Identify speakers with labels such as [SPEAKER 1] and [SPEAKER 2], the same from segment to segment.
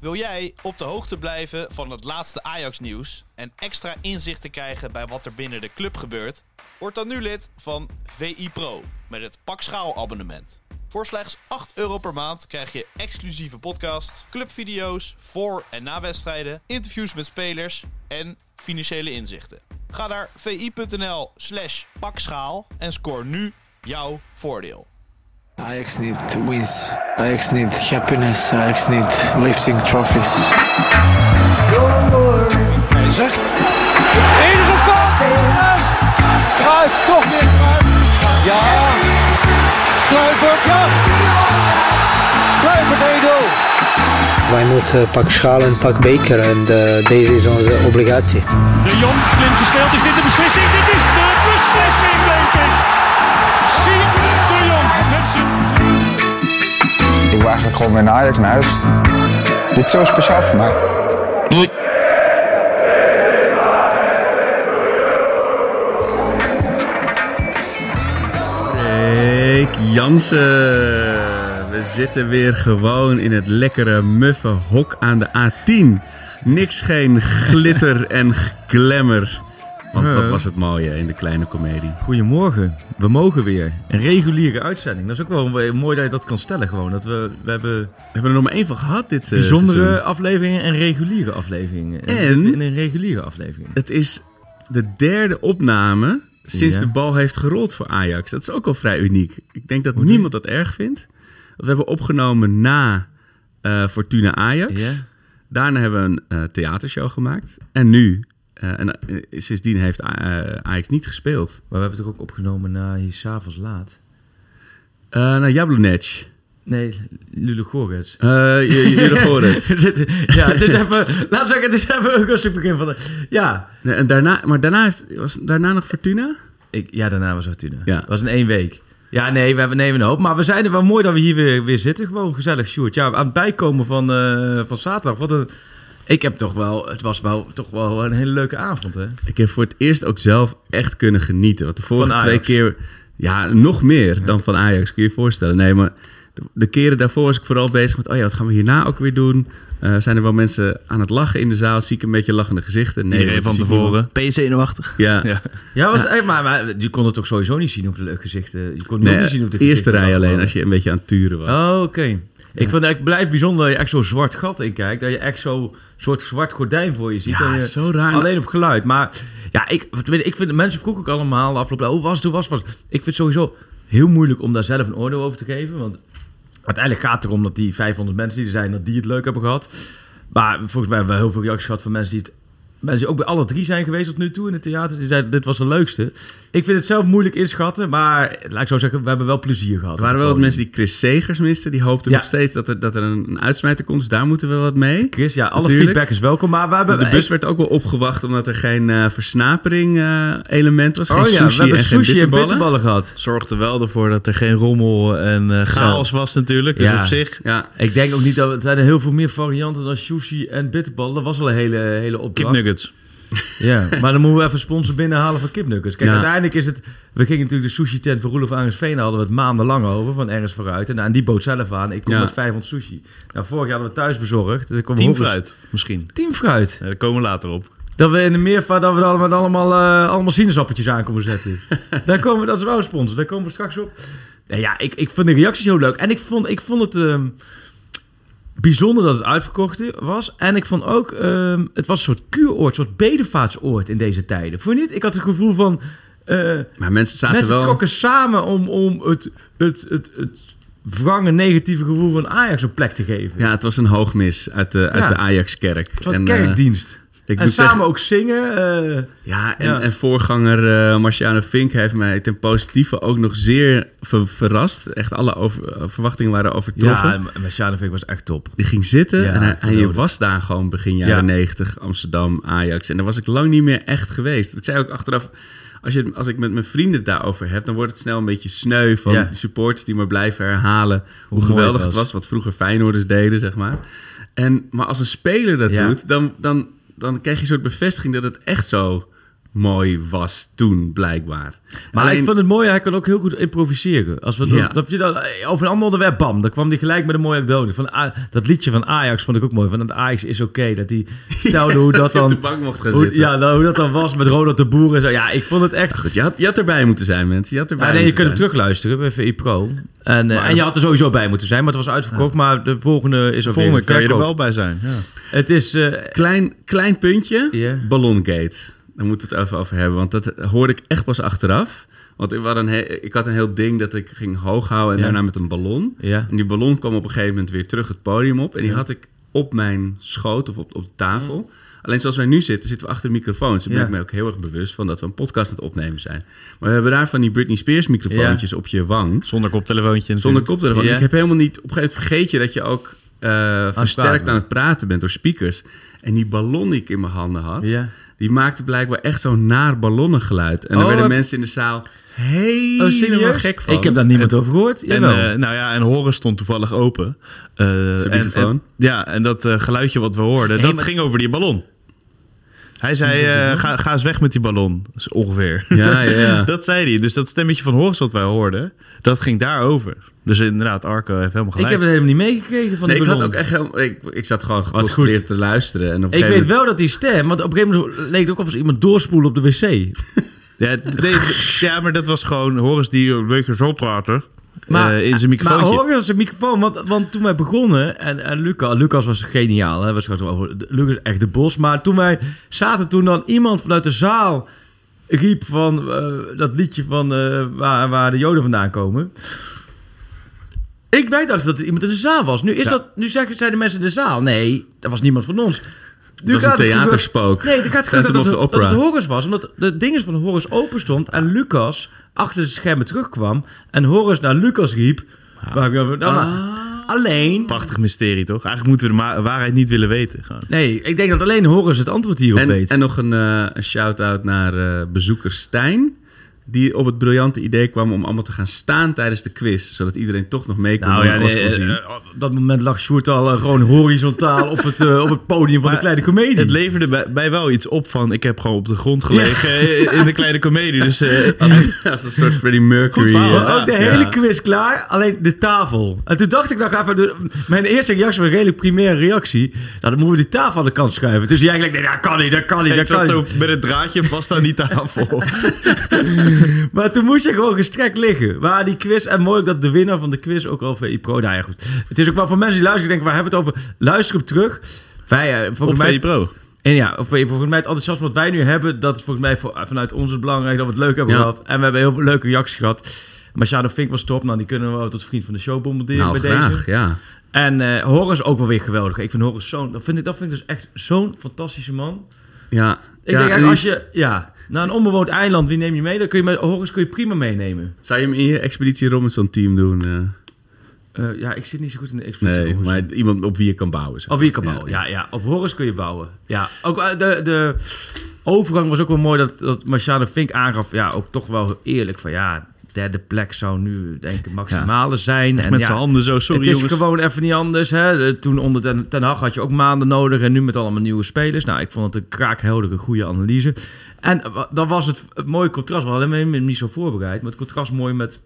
[SPEAKER 1] Wil jij op de hoogte blijven van het laatste Ajax-nieuws en extra inzicht te krijgen bij wat er binnen de club gebeurt? Word dan nu lid van VI Pro met het Pakschaal-abonnement. Voor slechts 8 euro per maand krijg je exclusieve podcasts, clubvideo's, voor- en na-wedstrijden, interviews met spelers en financiële inzichten. Ga naar vi.nl/slash pakschaal en scoor nu jouw voordeel.
[SPEAKER 2] Ajax need wins. Ajax need happiness. Ajax need lifting trophies.
[SPEAKER 3] Keizer. Ingekopt. Kruif toch weer.
[SPEAKER 4] Ja! Kluivert, ja! Kluivert 1-0!
[SPEAKER 5] Wij moeten pak schaal en pak beker en eh, deze is onze obligatie.
[SPEAKER 6] De Jong, slim gespeeld. Is dit de beslissing? Dit is de beslissing, denk ik. Siem de Jong met zijn...
[SPEAKER 7] Ik wil eigenlijk gewoon weer naar Ajax naar huis. Dit is zo speciaal voor mij.
[SPEAKER 8] Erik Jansen. We zitten weer gewoon in het lekkere muffe hok aan de A10. Niks geen glitter en glamour. Want wat was het mooie in de kleine komedie.
[SPEAKER 9] Goedemorgen, we mogen weer. Een reguliere uitzending. Dat is ook wel een- mooi dat je dat kan stellen gewoon. Dat we, we hebben
[SPEAKER 8] We hebben er nog maar één van gehad dit eh,
[SPEAKER 9] bijzondere
[SPEAKER 8] seizoen.
[SPEAKER 9] afleveringen en reguliere afleveringen.
[SPEAKER 8] En-
[SPEAKER 9] we zitten in een reguliere aflevering.
[SPEAKER 8] Het is de derde opname sinds
[SPEAKER 9] Ja.
[SPEAKER 8] de bal heeft gerold voor Ajax. Dat is ook al vrij uniek. Ik denk dat niemand dat erg vindt. Want we hebben opgenomen na eh, Fortuna Ajax.
[SPEAKER 9] Ja.
[SPEAKER 8] Daarna hebben we een eh, theatershow gemaakt. En nu, eh, en, eh, sindsdien heeft A- eh, Ajax niet gespeeld.
[SPEAKER 9] Maar we hebben het ook opgenomen na hier s'avonds laat.
[SPEAKER 8] Eh nou, Jablonec.
[SPEAKER 9] Nee, Lulu Gorets.
[SPEAKER 8] Eh, j- j- jullie horen het.
[SPEAKER 9] ja, het is even, laten we zeggen, het is even een rustig begin van de... Ja,
[SPEAKER 8] Nee, en daarna, maar daarna heeft, was daarna nog Fortuna?
[SPEAKER 9] ik, ja daarna was Fortuna.
[SPEAKER 8] Ja.
[SPEAKER 9] Het was in één week. Ja, nee, we hebben nemen een hoop. Maar we zijn er wel mooi dat we hier weer, weer zitten. Gewoon gezellig, Sjoerd. Ja, aan het bijkomen van, eh, van zaterdag. Wat een... Ik heb toch wel... Het was wel, toch wel een hele leuke avond, hè?
[SPEAKER 8] Ik heb voor het eerst ook zelf echt kunnen genieten. Want de vorige
[SPEAKER 9] Van Ajax.
[SPEAKER 8] twee keer, ja, nog meer dan van Ajax, kun je je voorstellen. Nee, maar de, de keren daarvoor was ik vooral bezig met, oh ja, wat gaan we hierna ook weer doen? Eh, zijn er wel mensen aan het lachen in de zaal? Zie ik een beetje lachende gezichten? Nee, want er zie ik niemand.
[SPEAKER 1] Ben je zenuwachtig?
[SPEAKER 8] Ja.
[SPEAKER 9] Ja, was, echt maar, maar je kon het toch sowieso niet zien op de gezichten. Je kon het
[SPEAKER 8] Nee,
[SPEAKER 9] ook niet zien op de
[SPEAKER 8] eerste
[SPEAKER 9] gezichten
[SPEAKER 8] rij alleen,
[SPEAKER 9] afgelopen.
[SPEAKER 8] als je een beetje aan het turen was.
[SPEAKER 9] Oh, oké. Ik vind het blijft bijzonder dat je echt zo'n zwart gat in kijkt. Dat je echt zo'n soort zwart gordijn voor je ziet.
[SPEAKER 8] Ja,
[SPEAKER 9] En je-
[SPEAKER 8] zo raar.
[SPEAKER 9] Alleen op geluid. Maar ja, ik, tenminste, ik vind mensen vroegen ook allemaal de afgelopen hoe was het, hoe was het. Ik vind het sowieso heel moeilijk om daar zelf een oordeel over te geven. Want uiteindelijk gaat het erom dat die 500 mensen die er zijn, dat die het leuk hebben gehad. Maar volgens mij hebben we heel veel reacties gehad van mensen die het... Mensen die ook bij alle drie zijn geweest tot nu toe in het theater. Die zeiden, dit was de leukste. Ik vind het zelf moeilijk inschatten. Maar laat ik zo zeggen, we hebben wel plezier gehad.
[SPEAKER 8] Er waren wel wat mensen die Chris Segers misten. Die hoopten
[SPEAKER 9] Oh. Ja.
[SPEAKER 8] nog steeds dat er, dat er een, een uitsmijter komt. Dus daar moeten we wat mee.
[SPEAKER 9] Chris, ja, alle
[SPEAKER 8] Natuurlijk.
[SPEAKER 9] feedback is welkom, maar we hebben...
[SPEAKER 8] De bus werd ook wel opgewacht omdat er geen eh, versnapering eh, element was. Geen
[SPEAKER 9] oh ja,
[SPEAKER 8] sushi
[SPEAKER 9] we hebben
[SPEAKER 8] en
[SPEAKER 9] sushi
[SPEAKER 8] geen
[SPEAKER 9] en
[SPEAKER 8] bitterballen.
[SPEAKER 9] bitterballen gehad.
[SPEAKER 10] zorgde wel ervoor dat er geen rommel en eh, chaos was natuurlijk. Dus
[SPEAKER 9] Ja.
[SPEAKER 10] op zich...
[SPEAKER 8] Ja,
[SPEAKER 9] Ik denk ook niet dat... Er zijn er heel veel meer varianten dan sushi en bitterballen. Dat was al een hele, hele opdracht.
[SPEAKER 10] Kipnuggets.
[SPEAKER 9] Ja, maar dan moeten we even sponsor binnenhalen van kipnuggets. Kijk,
[SPEAKER 8] Ja.
[SPEAKER 9] uiteindelijk is het... We gingen natuurlijk de sushi tent van Roelof Angensveen. Daar hadden we het maandenlang over, van ergens vooruit. En, nou, en die bood zelf aan, ik kom
[SPEAKER 8] Ja.
[SPEAKER 9] met 500 sushi. Nou, vorig jaar hadden we thuis bezorgd. Dus ik kwam
[SPEAKER 10] Team
[SPEAKER 9] Roelof-
[SPEAKER 10] fruit, misschien.
[SPEAKER 9] Teamfruit.
[SPEAKER 10] Ja, daar komen we later op.
[SPEAKER 9] Dat we in de meervaart dat we dan met allemaal, eh, allemaal sinaasappeltjes aan komen zetten. daar komen we, dat is wel een sponsor, daar komen we straks op. Nou ja, ik, ik vond de reacties heel leuk. En ik vond, ik vond het ehm, bijzonder dat het uitverkocht was. En ik vond ook, ehm, het was een soort kuuroord, een soort bedevaartsoord in deze tijden. Vond je niet? Ik had het gevoel van, eh
[SPEAKER 8] maar mensen zaten
[SPEAKER 9] mensen
[SPEAKER 8] wel...
[SPEAKER 9] trokken samen om, om het, het, het, het wrange negatieve gevoel van Ajax een plek te geven.
[SPEAKER 8] Ja, het was een hoogmis uit de, uit
[SPEAKER 9] Ja.
[SPEAKER 8] de Ajax-kerk.
[SPEAKER 9] Een soort
[SPEAKER 8] En, eh,
[SPEAKER 9] kerkdienst.
[SPEAKER 8] ik
[SPEAKER 9] en
[SPEAKER 8] moet
[SPEAKER 9] samen
[SPEAKER 8] zeggen-
[SPEAKER 9] ook zingen. eh,
[SPEAKER 8] ja, en,
[SPEAKER 9] Ja.
[SPEAKER 8] en voorganger eh Marciano Fink heeft mij ten positieve ook nog zeer ver- verrast. Echt alle over- verwachtingen waren overtroffen.
[SPEAKER 9] Ja, en Sjanovic was echt top.
[SPEAKER 8] Die ging zitten
[SPEAKER 9] Ja,
[SPEAKER 8] en, hij, en je
[SPEAKER 9] geweldig.
[SPEAKER 8] was daar gewoon begin jaren
[SPEAKER 9] Ja.
[SPEAKER 8] 90, Amsterdam, Ajax. En daar was ik lang niet meer echt geweest. Ik zei ook achteraf, als, je, als ik met mijn vrienden het daarover heb... dan wordt het snel een beetje sneu van
[SPEAKER 9] Ja.
[SPEAKER 8] die supporters die maar blijven herhalen... hoe,
[SPEAKER 9] mooi
[SPEAKER 8] geweldig
[SPEAKER 9] het
[SPEAKER 8] het was.
[SPEAKER 9] was.
[SPEAKER 8] wat vroeger Feyenoorders deden, zeg maar. En, maar als een speler dat
[SPEAKER 9] Ja.
[SPEAKER 8] doet, dan, dan, dan krijg je een soort bevestiging dat het echt zo mooi was toen, blijkbaar.
[SPEAKER 9] Maar
[SPEAKER 8] Alleen-
[SPEAKER 9] ik vond het mooi, hij kan ook heel goed improviseren. Als we
[SPEAKER 8] Ja.
[SPEAKER 9] dat, dat je dan, eh, over een ander onderwerp, bam, dan kwam hij gelijk met een mooie anekdote. Van, A- dat liedje van Ajax vond ik ook mooi. Van dat Ajax is oké, dat hij vertelde hoe dat
[SPEAKER 8] dat hij
[SPEAKER 9] dan...
[SPEAKER 8] op de bank mocht gaan
[SPEAKER 9] hoe,
[SPEAKER 8] zitten.
[SPEAKER 9] Ja, nou, hoe dat dan was met Ronald de Boer en zo. Ja, ik vond het echt...
[SPEAKER 8] Goed, je had, je had erbij moeten zijn, mensen. Je had erbij
[SPEAKER 9] Ja, nee, je
[SPEAKER 8] moeten
[SPEAKER 9] kunt hem
[SPEAKER 8] zijn.
[SPEAKER 9] terugluisteren bij VI Pro. En, eh,
[SPEAKER 8] Maar-
[SPEAKER 9] en je had er sowieso bij moeten zijn, maar het was uitverkocht. Maar de volgende is ook weer
[SPEAKER 10] Volgende
[SPEAKER 9] in de
[SPEAKER 10] kan je er
[SPEAKER 9] verkoop.
[SPEAKER 10] wel bij zijn. Ja.
[SPEAKER 9] Het is... eh,
[SPEAKER 8] Klein, klein puntje.
[SPEAKER 9] Ja.
[SPEAKER 8] Ballongate. Daar moeten we het even over hebben. Want dat hoorde ik echt pas achteraf. Want ik, had een he- ik had een heel ding dat ik ging hoog houden en
[SPEAKER 9] Ja.
[SPEAKER 8] daarna met een ballon.
[SPEAKER 9] Ja.
[SPEAKER 8] En die ballon kwam op een gegeven moment weer terug het podium op. En die had ik op mijn schoot of op, op de tafel. Alleen zoals wij nu zitten, zitten we achter de microfoons. Daar ben
[SPEAKER 9] Ja.
[SPEAKER 8] ik me ook heel erg bewust van dat we een podcast aan het opnemen zijn. Maar we hebben daar van die Britney Spears microfoontjes op je wang.
[SPEAKER 10] Zonder koptelefoontje
[SPEAKER 8] Zonder
[SPEAKER 10] natuurlijk.
[SPEAKER 8] koptelefoon.
[SPEAKER 9] Ja.
[SPEAKER 8] Dus ik heb helemaal niet... Op een gegeven moment vergeet je dat je ook eh, versterkt
[SPEAKER 9] praten.
[SPEAKER 8] aan het praten bent door speakers. En die ballon die ik in mijn handen had...
[SPEAKER 9] Ja.
[SPEAKER 8] die maakte blijkbaar echt zo'n naar ballonnengeluid. En
[SPEAKER 9] Oh,
[SPEAKER 8] daar werden
[SPEAKER 9] heb-
[SPEAKER 8] mensen in de zaal
[SPEAKER 9] oh,
[SPEAKER 8] helemaal
[SPEAKER 9] serieus?
[SPEAKER 8] gek van.
[SPEAKER 9] Ik heb daar niemand over gehoord.
[SPEAKER 10] En,
[SPEAKER 9] Jawel.
[SPEAKER 10] eh, nou ja, en Horen stond toevallig open. Eh, en- en,
[SPEAKER 8] microfoon?
[SPEAKER 10] ja, en dat eh, geluidje wat we hoorden,
[SPEAKER 9] Hey,
[SPEAKER 10] dat
[SPEAKER 9] maar-
[SPEAKER 10] ging over die ballon. Hij zei, eh, ga, ga eens weg met die ballon, Dus ongeveer.
[SPEAKER 8] Ja, ja, ja.
[SPEAKER 10] dat zei hij. Dus dat stemmetje van Horen wat wij hoorden, dat ging daarover. Dus inderdaad, Arco heeft helemaal
[SPEAKER 9] ik
[SPEAKER 10] gelijk.
[SPEAKER 9] heb het helemaal niet meegekregen van
[SPEAKER 8] Nee,
[SPEAKER 9] die
[SPEAKER 8] ik had
[SPEAKER 9] ballon.
[SPEAKER 8] ook echt heel- ik, ik zat gewoon geconcentreerd te luisteren. En op een
[SPEAKER 9] Ik
[SPEAKER 8] gegeven
[SPEAKER 9] weet wel dat die stem, want op een gegeven moment leek het ook alsof iemand doorspoelde op de wc.
[SPEAKER 10] Ja, d- nee, d- ja, maar dat was gewoon Horus die een beetje zo praten
[SPEAKER 9] Maar,
[SPEAKER 11] eh,
[SPEAKER 10] in zijn
[SPEAKER 9] maar
[SPEAKER 10] microfoontje.
[SPEAKER 9] hoor eens een microfoon, want, want toen wij begonnen, en, en Lucas, ah, Lucas was geniaal, hè, we spraken over Lucas is echt de bos, maar toen wij zaten, toen dan iemand vanuit de zaal riep van eh, dat liedje van eh, waar, waar de joden vandaan komen. Ik wij dachten dat er iemand in de zaal was. Nu, is dat, nu zeggen, zeiden mensen in de zaal, nee, dat was niemand van ons. Nu
[SPEAKER 8] Dat was een
[SPEAKER 9] gaat het gebeuren-
[SPEAKER 8] theaterspook.
[SPEAKER 9] Nee, dat gaat
[SPEAKER 8] Phantom
[SPEAKER 9] gewoon dat,
[SPEAKER 8] of
[SPEAKER 9] het-
[SPEAKER 8] the
[SPEAKER 9] dat het
[SPEAKER 8] Opera.
[SPEAKER 9] Horus was. Omdat de dinges van Horus open stond en Lucas achter de schermen terugkwam. En Horus naar Lucas riep. waar heb je over- nou, maar Alleen...
[SPEAKER 10] Prachtig mysterie, toch? Eigenlijk moeten we de ma- waarheid niet willen weten. Gewoon.
[SPEAKER 9] Nee, ik denk dat alleen Horus het antwoord hierop
[SPEAKER 8] moment... En,
[SPEAKER 9] weet.
[SPEAKER 8] en nog een, eh, een shout-out naar eh, bezoeker Stijn. Die op het briljante idee kwam om allemaal te gaan staan tijdens de quiz. Zodat iedereen toch nog mee kon
[SPEAKER 9] nou
[SPEAKER 8] en
[SPEAKER 9] ja,
[SPEAKER 8] alles
[SPEAKER 9] nee,
[SPEAKER 8] kon zien.
[SPEAKER 9] eh, eh, op dat moment lag Sjoerd al eh, gewoon horizontaal op het, eh, op het podium van
[SPEAKER 10] Maar
[SPEAKER 9] de Kleine Comedie.
[SPEAKER 10] Het leverde bij, mij wel iets op van... ik heb gewoon op de grond gelegen eh, in de kleine komedie. Dus eh,
[SPEAKER 8] Als een soort Freddie Mercury.
[SPEAKER 10] Goed verhaal, Oh,
[SPEAKER 8] eh,
[SPEAKER 10] hè?
[SPEAKER 9] ook de hele quiz klaar, alleen de tafel. En toen dacht ik nog even, de- mijn eerste reactie was een redelijk primaire reactie. Nou, dan moeten we die tafel aan de kant schuiven. Dus jij gelijk, nee, dat kan niet, dat kan niet,
[SPEAKER 10] ik
[SPEAKER 9] dat kan
[SPEAKER 10] zat
[SPEAKER 9] niet.
[SPEAKER 10] zo met het draadje vast aan die tafel.
[SPEAKER 9] Maar toen moest je gewoon gestrekt liggen. Waar die quiz, en mooi ook dat de winnaar van de quiz ook al voor IPRO, nou ja goed. Het is ook wel voor mensen die luisteren, denken, waar hebben we het over? Luister hem terug. Wij, eh,
[SPEAKER 10] op
[SPEAKER 9] volgens
[SPEAKER 10] VE
[SPEAKER 9] mij,
[SPEAKER 10] Pro.
[SPEAKER 9] en ja, of, volgens mij het enthousiasme wat wij nu hebben, dat is volgens mij voor- vanuit ons het belangrijk dat we het leuk hebben
[SPEAKER 8] Ja.
[SPEAKER 9] gehad. En we hebben heel veel leuke reacties gehad. Maar Shadow Fink was top, nou die kunnen we wel tot vriend van de show bombarderen
[SPEAKER 8] nou,
[SPEAKER 9] bij deze.
[SPEAKER 8] graag, ja.
[SPEAKER 9] En eh Horus ook wel weer geweldig. Ik vind Horus zo'n... Dat vind ik, dat vind ik dus echt zo'n fantastische man.
[SPEAKER 8] ja.
[SPEAKER 9] Ik
[SPEAKER 8] ja,
[SPEAKER 9] denk
[SPEAKER 8] en die-
[SPEAKER 9] eigenlijk, als je... Ja, naar een onbewoond eiland, wie neem je mee? Dan kun je met Horus kun je prima meenemen.
[SPEAKER 8] Zou je hem in je Expeditie Robinson team doen? eh?
[SPEAKER 9] Eh, ja, ik zit niet zo goed in de expeditie.
[SPEAKER 8] nee,
[SPEAKER 9] Horus.
[SPEAKER 8] maar iemand op wie je kan bouwen. zeg
[SPEAKER 9] Of wie je kan
[SPEAKER 8] maar.
[SPEAKER 9] bouwen. Ja, ja. Op Horus kun je bouwen. Ja. Ook eh, de, de overgang was ook wel mooi dat, dat Marciano Fink aangaf. Ja, ook toch wel eerlijk van ja, derde plek zou nu denk ik het maximale zijn. En
[SPEAKER 10] Met
[SPEAKER 9] ja,
[SPEAKER 10] zijn handen zo, sorry
[SPEAKER 9] het is
[SPEAKER 10] jongens.
[SPEAKER 9] gewoon even niet anders. Hè? Eh, Toen onder Ten, Ten Hag had je ook maanden nodig en nu met allemaal nieuwe spelers. Nou, ik vond het een kraakheldere goede analyse. En eh, wa- dan was het een mooi contrast. We hadden hem hem niet zo voorbereid, maar het contrast mooi met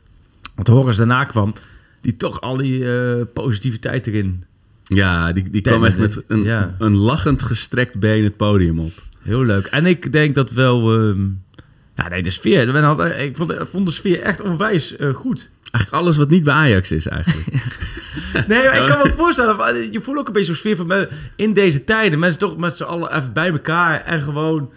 [SPEAKER 9] wat Horus daarna kwam. Die toch al die eh, positiviteit erin.
[SPEAKER 8] Ja, die, die
[SPEAKER 9] Tennis,
[SPEAKER 8] kwam echt
[SPEAKER 9] hè?
[SPEAKER 8] met een,
[SPEAKER 9] Ja.
[SPEAKER 8] een lachend gestrekt been het podium op.
[SPEAKER 9] Heel leuk. En ik denk dat wel... ehm, ja, nee, de sfeer. men had- ik vond, ik vond de sfeer echt onwijs eh, goed.
[SPEAKER 8] Eigenlijk alles wat niet bij Ajax is eigenlijk.
[SPEAKER 9] Nee, maar ik kan me ook voorstellen. maar Je voelt ook een beetje zo'n sfeer van me- in deze tijden. Mensen toch met z'n allen even bij elkaar en gewoon een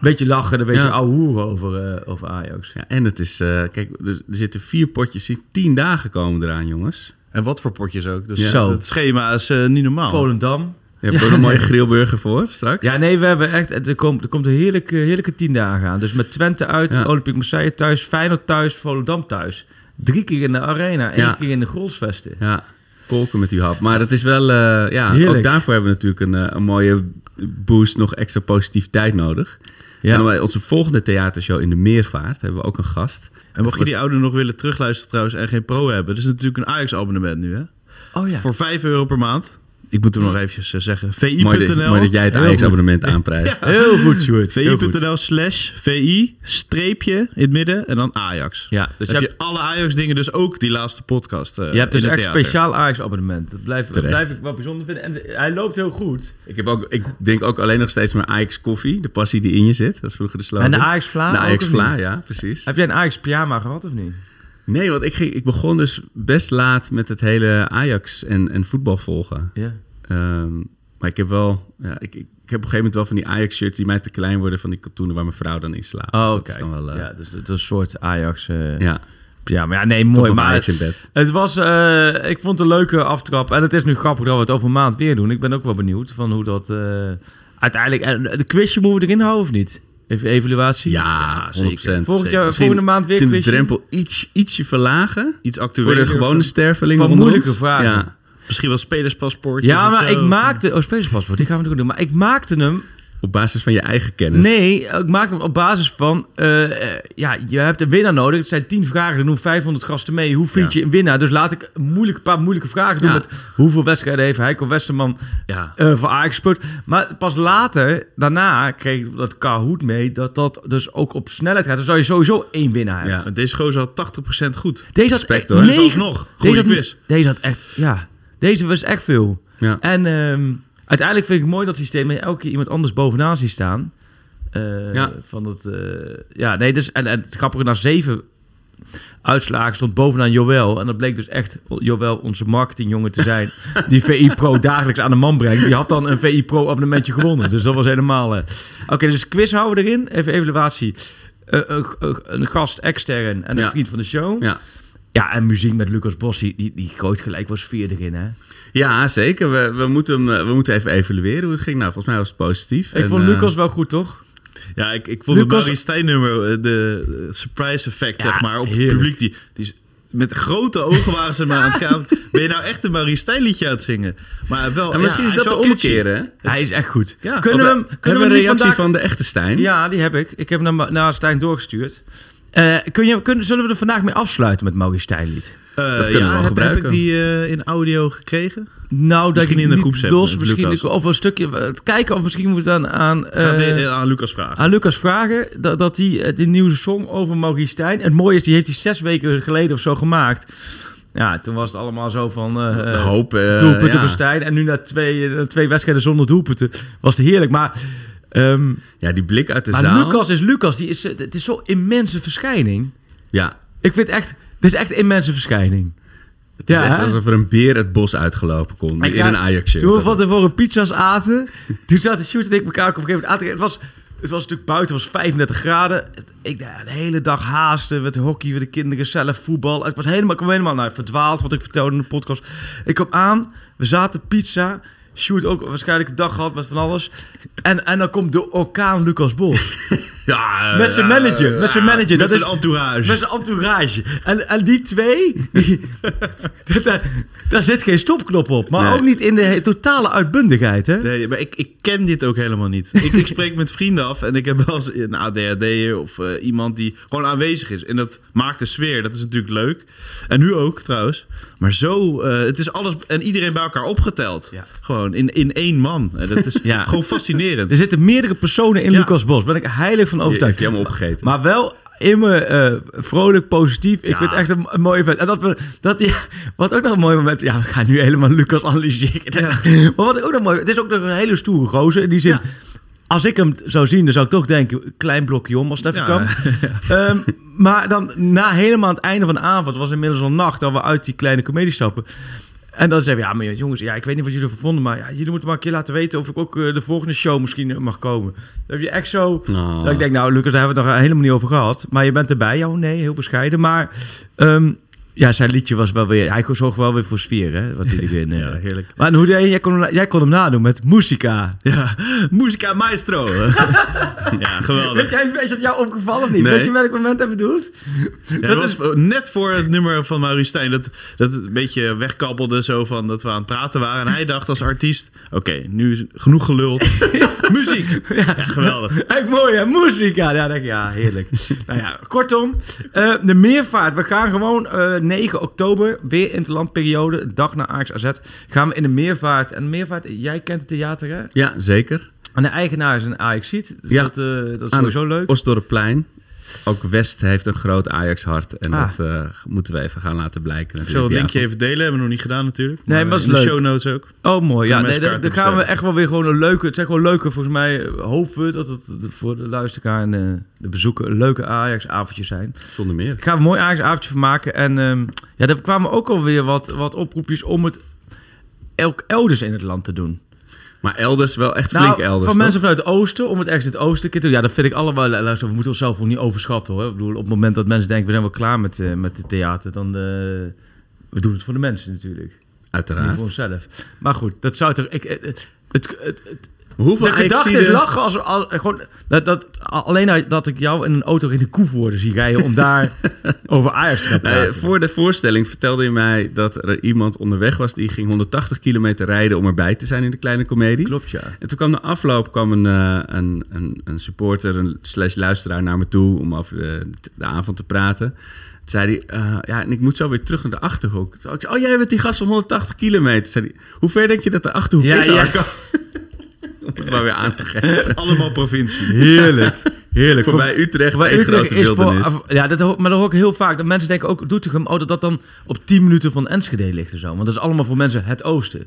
[SPEAKER 9] beetje lachen. Een beetje
[SPEAKER 8] Ja.
[SPEAKER 9] ouwe hoeren over, eh, over Ajax.
[SPEAKER 8] ja, en het is, eh, kijk, er, er zitten vier potjes, die tien dagen komen eraan, jongens.
[SPEAKER 10] En wat voor potjes ook. Dus
[SPEAKER 9] Ja.
[SPEAKER 10] Het schema is eh, niet
[SPEAKER 9] Oh.
[SPEAKER 10] normaal.
[SPEAKER 9] Volendam.
[SPEAKER 8] Je hebt ook een mooie grillburger voor straks.
[SPEAKER 9] Ja, nee, we hebben echt... het- Er komt, er komt een heerlijke, heerlijke tien dagen aan. Dus met Twente uit,
[SPEAKER 8] Ja.
[SPEAKER 9] Olympique Marseille thuis, Feyenoord thuis, Volendam thuis. Drie keer in de arena, één
[SPEAKER 8] Ja.
[SPEAKER 9] keer in de Grolsvesten.
[SPEAKER 8] Ja, kolken met die hap. Maar het is wel, eh, ja,
[SPEAKER 9] Heerlijk.
[SPEAKER 8] ook daarvoor hebben we natuurlijk een, eh, een mooie boost, nog extra positiviteit nodig.
[SPEAKER 9] Ja.
[SPEAKER 8] En bij onze volgende theatershow in de Meervaart hebben we ook een gast.
[SPEAKER 10] En mocht je die oude nog willen terugluisteren trouwens en geen pro hebben. Dat is natuurlijk een Ajax abonnement nu hè.
[SPEAKER 9] Oh ja.
[SPEAKER 10] Voor 5 euro per maand.
[SPEAKER 11] Ik moet hem nog eventjes eh, zeggen.
[SPEAKER 8] Mooi dat-
[SPEAKER 11] VI.nl.
[SPEAKER 8] mooi dat jij het
[SPEAKER 11] Heel
[SPEAKER 8] Ajax-abonnement
[SPEAKER 11] goed.
[SPEAKER 8] aanprijst.
[SPEAKER 11] Ja.
[SPEAKER 8] Heel goed, Sjoerd. Heel goed.
[SPEAKER 11] VI.nl slash VI streepje in het midden en dan Ajax.
[SPEAKER 9] Ja, dus
[SPEAKER 11] dus
[SPEAKER 9] je
[SPEAKER 11] heb je
[SPEAKER 9] hebt-
[SPEAKER 11] alle Ajax dingen dus ook die laatste podcast eh,
[SPEAKER 9] Je hebt dus
[SPEAKER 11] in het
[SPEAKER 9] echt
[SPEAKER 11] theater.
[SPEAKER 9] speciaal Ajax-abonnement. Dat blijf, dat
[SPEAKER 11] Terecht.
[SPEAKER 9] blijf ik wel bijzonder vinden. En hij loopt heel goed.
[SPEAKER 8] Ik, heb ook, ik denk ook alleen nog steeds mijn Ajax koffie. De passie die in je zit. Dat is vroeger de slogan.
[SPEAKER 9] En de Ajax Vla
[SPEAKER 8] De
[SPEAKER 9] ook,
[SPEAKER 8] Ajax
[SPEAKER 9] of
[SPEAKER 8] Vla,
[SPEAKER 9] niet?
[SPEAKER 8] ja, precies.
[SPEAKER 9] Heb jij een Ajax-pyjama gehad of niet?
[SPEAKER 8] Nee, want ik, ging, ik begon dus best laat met het hele Ajax en, en voetbal volgen.
[SPEAKER 9] Ja.
[SPEAKER 8] Ehm, maar ik heb wel... Ja, ik, ik heb op een gegeven moment wel van die Ajax-shirts die mij te klein worden... van die katoenen waar mijn vrouw dan in slaapt. Dus
[SPEAKER 9] Oh,
[SPEAKER 8] dat
[SPEAKER 9] kijk.
[SPEAKER 8] is dan wel... eh,
[SPEAKER 9] ja, dus dat is een soort Ajax. eh
[SPEAKER 8] Ja.
[SPEAKER 9] pyjama. ja, nee, mooi.
[SPEAKER 8] nog
[SPEAKER 9] Maar
[SPEAKER 8] Ajax in bed.
[SPEAKER 9] Het was, eh, ik vond het een leuke aftrap. En het is nu grappig dat we het over een maand weer doen. Ik ben ook wel benieuwd van hoe dat eh, uiteindelijk... en de quizje moeten we erin houden of niet? Even evaluatie?
[SPEAKER 8] Ja, 100%.
[SPEAKER 9] Volgend
[SPEAKER 8] zeker.
[SPEAKER 9] jaar,
[SPEAKER 8] Misschien-
[SPEAKER 9] volgende maand weer
[SPEAKER 8] misschien
[SPEAKER 9] quizje.
[SPEAKER 8] de drempel iets, ietsje verlagen.
[SPEAKER 11] Iets
[SPEAKER 8] Voor
[SPEAKER 11] actueler.
[SPEAKER 8] de gewone sterfeling.
[SPEAKER 9] Van
[SPEAKER 8] onder
[SPEAKER 9] moeilijke
[SPEAKER 8] ons.
[SPEAKER 9] vragen.
[SPEAKER 8] Ja.
[SPEAKER 11] Misschien wel spelerspaspoortjes
[SPEAKER 9] Ja,
[SPEAKER 11] of
[SPEAKER 9] maar
[SPEAKER 11] zo.
[SPEAKER 9] ik maakte... Oh, spelerspaspoort. Die gaan we natuurlijk doen. Maar ik maakte hem...
[SPEAKER 8] Op basis van je eigen kennis.
[SPEAKER 9] Nee, ik maak hem op basis van... eh, eh, ja, je hebt een winnaar nodig. Het zijn 10 vragen. Er doen 500 gasten mee. Hoe vind
[SPEAKER 8] Ja.
[SPEAKER 9] je een winnaar? Dus laat ik een moeilijke, paar moeilijke vragen doen.
[SPEAKER 8] Ja.
[SPEAKER 9] Met hoeveel wedstrijden heeft Heiko Westerman
[SPEAKER 8] Ja.
[SPEAKER 9] eh voor Ajax gespeeld. Maar pas later, daarna, kreeg ik dat Kahoot mee... dat dat dus ook op snelheid gaat. Dan zou je sowieso één winnaar hebben.
[SPEAKER 8] Ja.
[SPEAKER 11] Want Deze gozer had 80% goed.
[SPEAKER 9] Deze had
[SPEAKER 8] Respect,
[SPEAKER 9] echt
[SPEAKER 8] hoor.
[SPEAKER 9] negen-
[SPEAKER 11] Dus alsnog, goede
[SPEAKER 9] deze, had,
[SPEAKER 11] quiz.
[SPEAKER 9] deze had echt... Ja, deze was echt veel.
[SPEAKER 8] Ja.
[SPEAKER 9] En ehm, uiteindelijk vind ik het mooi dat systeem... dat je elke keer iemand anders bovenaan ziet staan. Eh,
[SPEAKER 8] Ja.
[SPEAKER 9] Van het, eh, ja, nee, dus, en, en het grappige, na zeven uitslagen stond bovenaan Joël. En dat bleek dus echt Joël, onze marketingjongen te zijn... die VI Pro dagelijks aan de man brengt. Die had dan een VI Pro abonnementje gewonnen. Dus dat was helemaal... eh. Oké, dus quiz houden we erin. Even evaluatie. Eh, eh, eh, een gast extern en een
[SPEAKER 8] Ja.
[SPEAKER 9] vriend van de show.
[SPEAKER 8] Ja.
[SPEAKER 9] Ja, en muziek met Lucas Bos, die, die, die gooit gelijk wel sfeer erin, hè?
[SPEAKER 8] Ja, zeker. We, we, moeten hem, eh, we moeten even evalueren hoe het ging. Nou, volgens mij was het positief.
[SPEAKER 9] Ik
[SPEAKER 8] En,
[SPEAKER 9] vond
[SPEAKER 8] eh,
[SPEAKER 9] Lucas wel goed, toch?
[SPEAKER 11] Ja, ik, ik vond
[SPEAKER 9] Lucas-
[SPEAKER 11] het Barry Stijn nummer, eh, de eh, surprise effect,
[SPEAKER 9] Ja,
[SPEAKER 11] zeg maar, op
[SPEAKER 9] heerlijk.
[SPEAKER 11] het publiek. Die, die is- met grote ogen waren ze maar aan het gaan. Ben je nou echt een Barry Stijn liedje aan het zingen? Maar wel,
[SPEAKER 8] en misschien
[SPEAKER 11] ja,
[SPEAKER 8] is dat
[SPEAKER 11] hij
[SPEAKER 8] de
[SPEAKER 11] wel catchy.
[SPEAKER 8] omkeer, hè?
[SPEAKER 9] Hij is echt goed.
[SPEAKER 11] Ja.
[SPEAKER 9] kunnen we hem,
[SPEAKER 8] Hebben
[SPEAKER 9] kunnen
[SPEAKER 8] we
[SPEAKER 9] we
[SPEAKER 8] een
[SPEAKER 9] hem
[SPEAKER 8] reactie
[SPEAKER 9] niet vandaag...
[SPEAKER 8] van de echte Stijn?
[SPEAKER 9] Ja, die heb ik. Ik heb hem naar, naar Stijn doorgestuurd. Eh, kun je, kun, zullen we er vandaag mee afsluiten met Maurice Stijnlied?
[SPEAKER 11] Eh,
[SPEAKER 8] Dat kunnen we wel
[SPEAKER 11] heb-
[SPEAKER 8] gebruiken.
[SPEAKER 11] Heb ik die eh, in audio gekregen?
[SPEAKER 9] Nou, dat
[SPEAKER 11] Misschien
[SPEAKER 9] ik
[SPEAKER 11] in de
[SPEAKER 9] niet
[SPEAKER 11] groepsapp
[SPEAKER 8] eh,
[SPEAKER 9] Los,
[SPEAKER 11] met
[SPEAKER 9] misschien
[SPEAKER 11] Lucas.
[SPEAKER 9] Of een stukje eh, kijken, of misschien moeten we dan aan,
[SPEAKER 11] Ik ga het
[SPEAKER 9] eh,
[SPEAKER 11] even aan Lucas vragen.
[SPEAKER 9] aan Lucas vragen dat, dat hij eh, die nieuwe song over Maurice Stijn. Het mooie is, die heeft hij zes weken geleden of zo gemaakt. Ja, toen was het allemaal zo van. eh,
[SPEAKER 8] Een hoop. eh,
[SPEAKER 9] doelpunten
[SPEAKER 8] ja.
[SPEAKER 9] voor Stijn. En nu na twee, eh, na twee wedstrijden zonder doelpunten was het heerlijk. Maar, ehm,
[SPEAKER 8] Ja, die blik uit de
[SPEAKER 9] maar
[SPEAKER 8] zaal.
[SPEAKER 9] Lucas is Lucas. Die is, het is zo'n immense verschijning.
[SPEAKER 8] Ja.
[SPEAKER 9] Ik vind echt, dit is echt een immense verschijning.
[SPEAKER 8] Het is
[SPEAKER 9] Ja,
[SPEAKER 8] echt
[SPEAKER 9] hè?
[SPEAKER 8] alsof er een beer het bos uitgelopen kon.
[SPEAKER 9] Ik
[SPEAKER 8] in een
[SPEAKER 9] raak-
[SPEAKER 8] Ajax-shirt.
[SPEAKER 9] Toen we van tevoren pizza's aten, toen zaten Sjoerd en ik elkaar ook op een gegeven moment aan te kijken. Het was, het was natuurlijk buiten, het was 35 graden. Ik dacht, de hele dag haasten met hockey, met de kinderen zelf, voetbal. Het was helemaal, ik kwam helemaal nou, verdwaald, wat ik vertelde in de podcast. Ik kwam aan, we zaten pizza. Sjoerd ook waarschijnlijk een dag gehad met van alles. En, en dan komt de orkaan Lucas Bos.
[SPEAKER 8] Ja, eh,
[SPEAKER 9] Met zijn manager, met zijn manager.
[SPEAKER 11] dat
[SPEAKER 9] Dat
[SPEAKER 11] is
[SPEAKER 9] is
[SPEAKER 11] een entourage.
[SPEAKER 9] met zijn entourage. En, en die twee, die- daar, daar zit geen stopknop op. Maar
[SPEAKER 8] Nee.
[SPEAKER 9] ook niet in de he- totale uitbundigheid, hè?
[SPEAKER 11] Nee, maar ik, ik ken dit ook helemaal niet. Ik, ik spreek met vrienden af en ik heb wel eens een ADHD'er of eh, iemand die gewoon aanwezig is. En dat maakt de sfeer, dat is natuurlijk leuk. En nu ook trouwens. Maar zo, eh, het is alles en iedereen bij elkaar opgeteld.
[SPEAKER 9] Ja.
[SPEAKER 11] Gewoon in, in één man. En dat is
[SPEAKER 9] Ja.
[SPEAKER 11] gewoon fascinerend.
[SPEAKER 9] Er zitten meerdere personen in
[SPEAKER 11] Ja.
[SPEAKER 9] Lucas Bos. Ben ik heilig van
[SPEAKER 8] die heeft
[SPEAKER 9] overtuigd.
[SPEAKER 8] hij helemaal opgegeten.
[SPEAKER 9] Maar wel immer eh, vrolijk, positief. Ik
[SPEAKER 11] Ja.
[SPEAKER 9] vind het echt een, een mooi event. En dat we, dat, die- wat ook nog een mooi moment... Ja, we gaan nu helemaal Lucas analyseren. Maar wat ik ook nog mooi... Het is ook nog een hele stoere gozer. In die zin... Als ik hem zou zien, dan zou ik toch denken... Klein blokje om, als dat even
[SPEAKER 11] Ja.
[SPEAKER 9] kan. Ehm, maar dan na helemaal aan het einde van de avond... Het was inmiddels al nacht... dat we uit die kleine comedie stappen... En dan zeggen we, ja, maar jongens, ja, ik weet niet wat jullie ervan vonden, maar ja, jullie moeten maar een keer laten weten of ik ook eh, de volgende show misschien eh, mag komen. Dan heb je echt zo,
[SPEAKER 8] Ah.
[SPEAKER 9] dat ik denk, nou Lucas, daar hebben we het nog helemaal niet over gehad. Maar je bent erbij. Ja, oh nee, heel bescheiden. Maar ehm, ja, zijn liedje was wel weer... Hij zorgde wel weer voor sfeer, hè? Wat hij erin...
[SPEAKER 11] Ja,
[SPEAKER 9] eh.
[SPEAKER 11] heerlijk.
[SPEAKER 9] Maar en hoe deed je? Jij kon, hem na- jij kon hem nadoen met Musica.
[SPEAKER 11] Ja, Musica Maestro. ja,
[SPEAKER 9] Weet
[SPEAKER 11] geweldig.
[SPEAKER 9] jij, is dat jou opgevallen of niet?
[SPEAKER 11] Oh. Nee.
[SPEAKER 9] Weet je welk moment hij bedoelt?
[SPEAKER 11] Ja, dat was net voor het nummer van Maurice Stijn. Dat, dat het een beetje wegkabbelde zo van dat we aan het praten waren. En hij dacht als artiest, oké, nu is genoeg geluld. Muziek. Ja, geweldig.
[SPEAKER 9] Echt mooi, hè? Musica. Ja, denk, ik, ja heerlijk. nou ja, kortom, eh, de meervaart. We gaan gewoon eh, 9 oktober, weer interlandperiode, een dag na Ajax AZ, gaan we in de Meervaart. En de Meervaart, jij kent het theater, hè?
[SPEAKER 8] Ja, zeker.
[SPEAKER 9] En de eigenaar is een Ajaxiet, dus
[SPEAKER 8] Ja.
[SPEAKER 9] dat, eh, dat is
[SPEAKER 8] Aan
[SPEAKER 9] sowieso
[SPEAKER 8] het
[SPEAKER 9] leuk.
[SPEAKER 8] Osdorpplein. Ook West heeft een groot Ajax-hart. En
[SPEAKER 9] Ah.
[SPEAKER 8] dat eh, moeten we even gaan laten blijken.
[SPEAKER 10] Ik zal het
[SPEAKER 8] natuurlijk die
[SPEAKER 10] linkje
[SPEAKER 8] avond.
[SPEAKER 10] even delen, hebben we nog niet gedaan natuurlijk.
[SPEAKER 9] Nee, maar
[SPEAKER 10] eh,
[SPEAKER 9] is
[SPEAKER 10] in de
[SPEAKER 9] leuk.
[SPEAKER 10] show notes ook.
[SPEAKER 9] Oh, mooi. Ja,
[SPEAKER 10] Kunnen mensen
[SPEAKER 9] nee, dan,
[SPEAKER 10] kaarten
[SPEAKER 9] dan gaan we
[SPEAKER 10] bestellen.
[SPEAKER 9] echt wel weer gewoon een leuke... Het is echt wel leuke, volgens mij eh, hopen we dat het voor de luisteraar en eh, de bezoeker een leuke Ajax-avondjes zijn.
[SPEAKER 8] Zonder meer.
[SPEAKER 9] Daar gaan we een mooi Ajax-avondje van maken. En ehm, ja, er kwamen ook alweer wat, wat oproepjes om het elk elders in het land te doen.
[SPEAKER 8] Maar elders wel echt flink
[SPEAKER 9] Nou,
[SPEAKER 8] elders.
[SPEAKER 9] van
[SPEAKER 8] toch?
[SPEAKER 9] mensen vanuit het oosten, om het ergens in het oosten een keer te doen. Ja, dat vind ik allemaal... Luister, we moeten onszelf ook niet overschatten, hoor. Ik bedoel, op het moment dat mensen denken, we zijn wel klaar met, eh, met het theater, dan... eh, we doen het voor de mensen natuurlijk. Niet
[SPEAKER 8] Uiteraard.
[SPEAKER 9] voor onszelf. Maar goed, dat zou toch... Ik, eh, eh, het, het, het,
[SPEAKER 8] Hoeveel
[SPEAKER 9] de gedachte
[SPEAKER 8] Ajaxiden-
[SPEAKER 9] is lachen als, als gewoon, dat, dat, alleen nou dat ik jou in een auto in de koevoorden zie rijden om daar over Ajax te gaan
[SPEAKER 8] Nee,
[SPEAKER 9] praten.
[SPEAKER 8] voor de voorstelling vertelde je mij dat er iemand onderweg was die ging 180 kilometer rijden om erbij te zijn in de kleine comedie.
[SPEAKER 9] Klopt, ja.
[SPEAKER 8] En toen kwam na afloop kwam een, eh, een, een, een supporter, een slash luisteraar naar me toe om over de, de avond te praten. Toen zei hij, eh, ja, en ik moet zo weer terug naar de Achterhoek. Toen zei ik, oh jij bent die gast van 180 kilometer. Toen zei hij, hoe ver denk je dat de Achterhoek
[SPEAKER 9] Ja,
[SPEAKER 8] is,
[SPEAKER 9] ja.
[SPEAKER 8] Arco? om het maar weer aan te geven.
[SPEAKER 10] Allemaal provincie.
[SPEAKER 9] Heerlijk. Heerlijk.
[SPEAKER 8] Voorbij Utrecht,
[SPEAKER 9] Voorbij
[SPEAKER 8] één grote wildernis.
[SPEAKER 9] ah, ja, dat, hoor- maar dat hoor ik heel vaak. Dat mensen denken ook, Doetinchem, oh, dat dat dan op 10 minuten van Enschede ligt of zo. Want dat is allemaal voor mensen het oosten.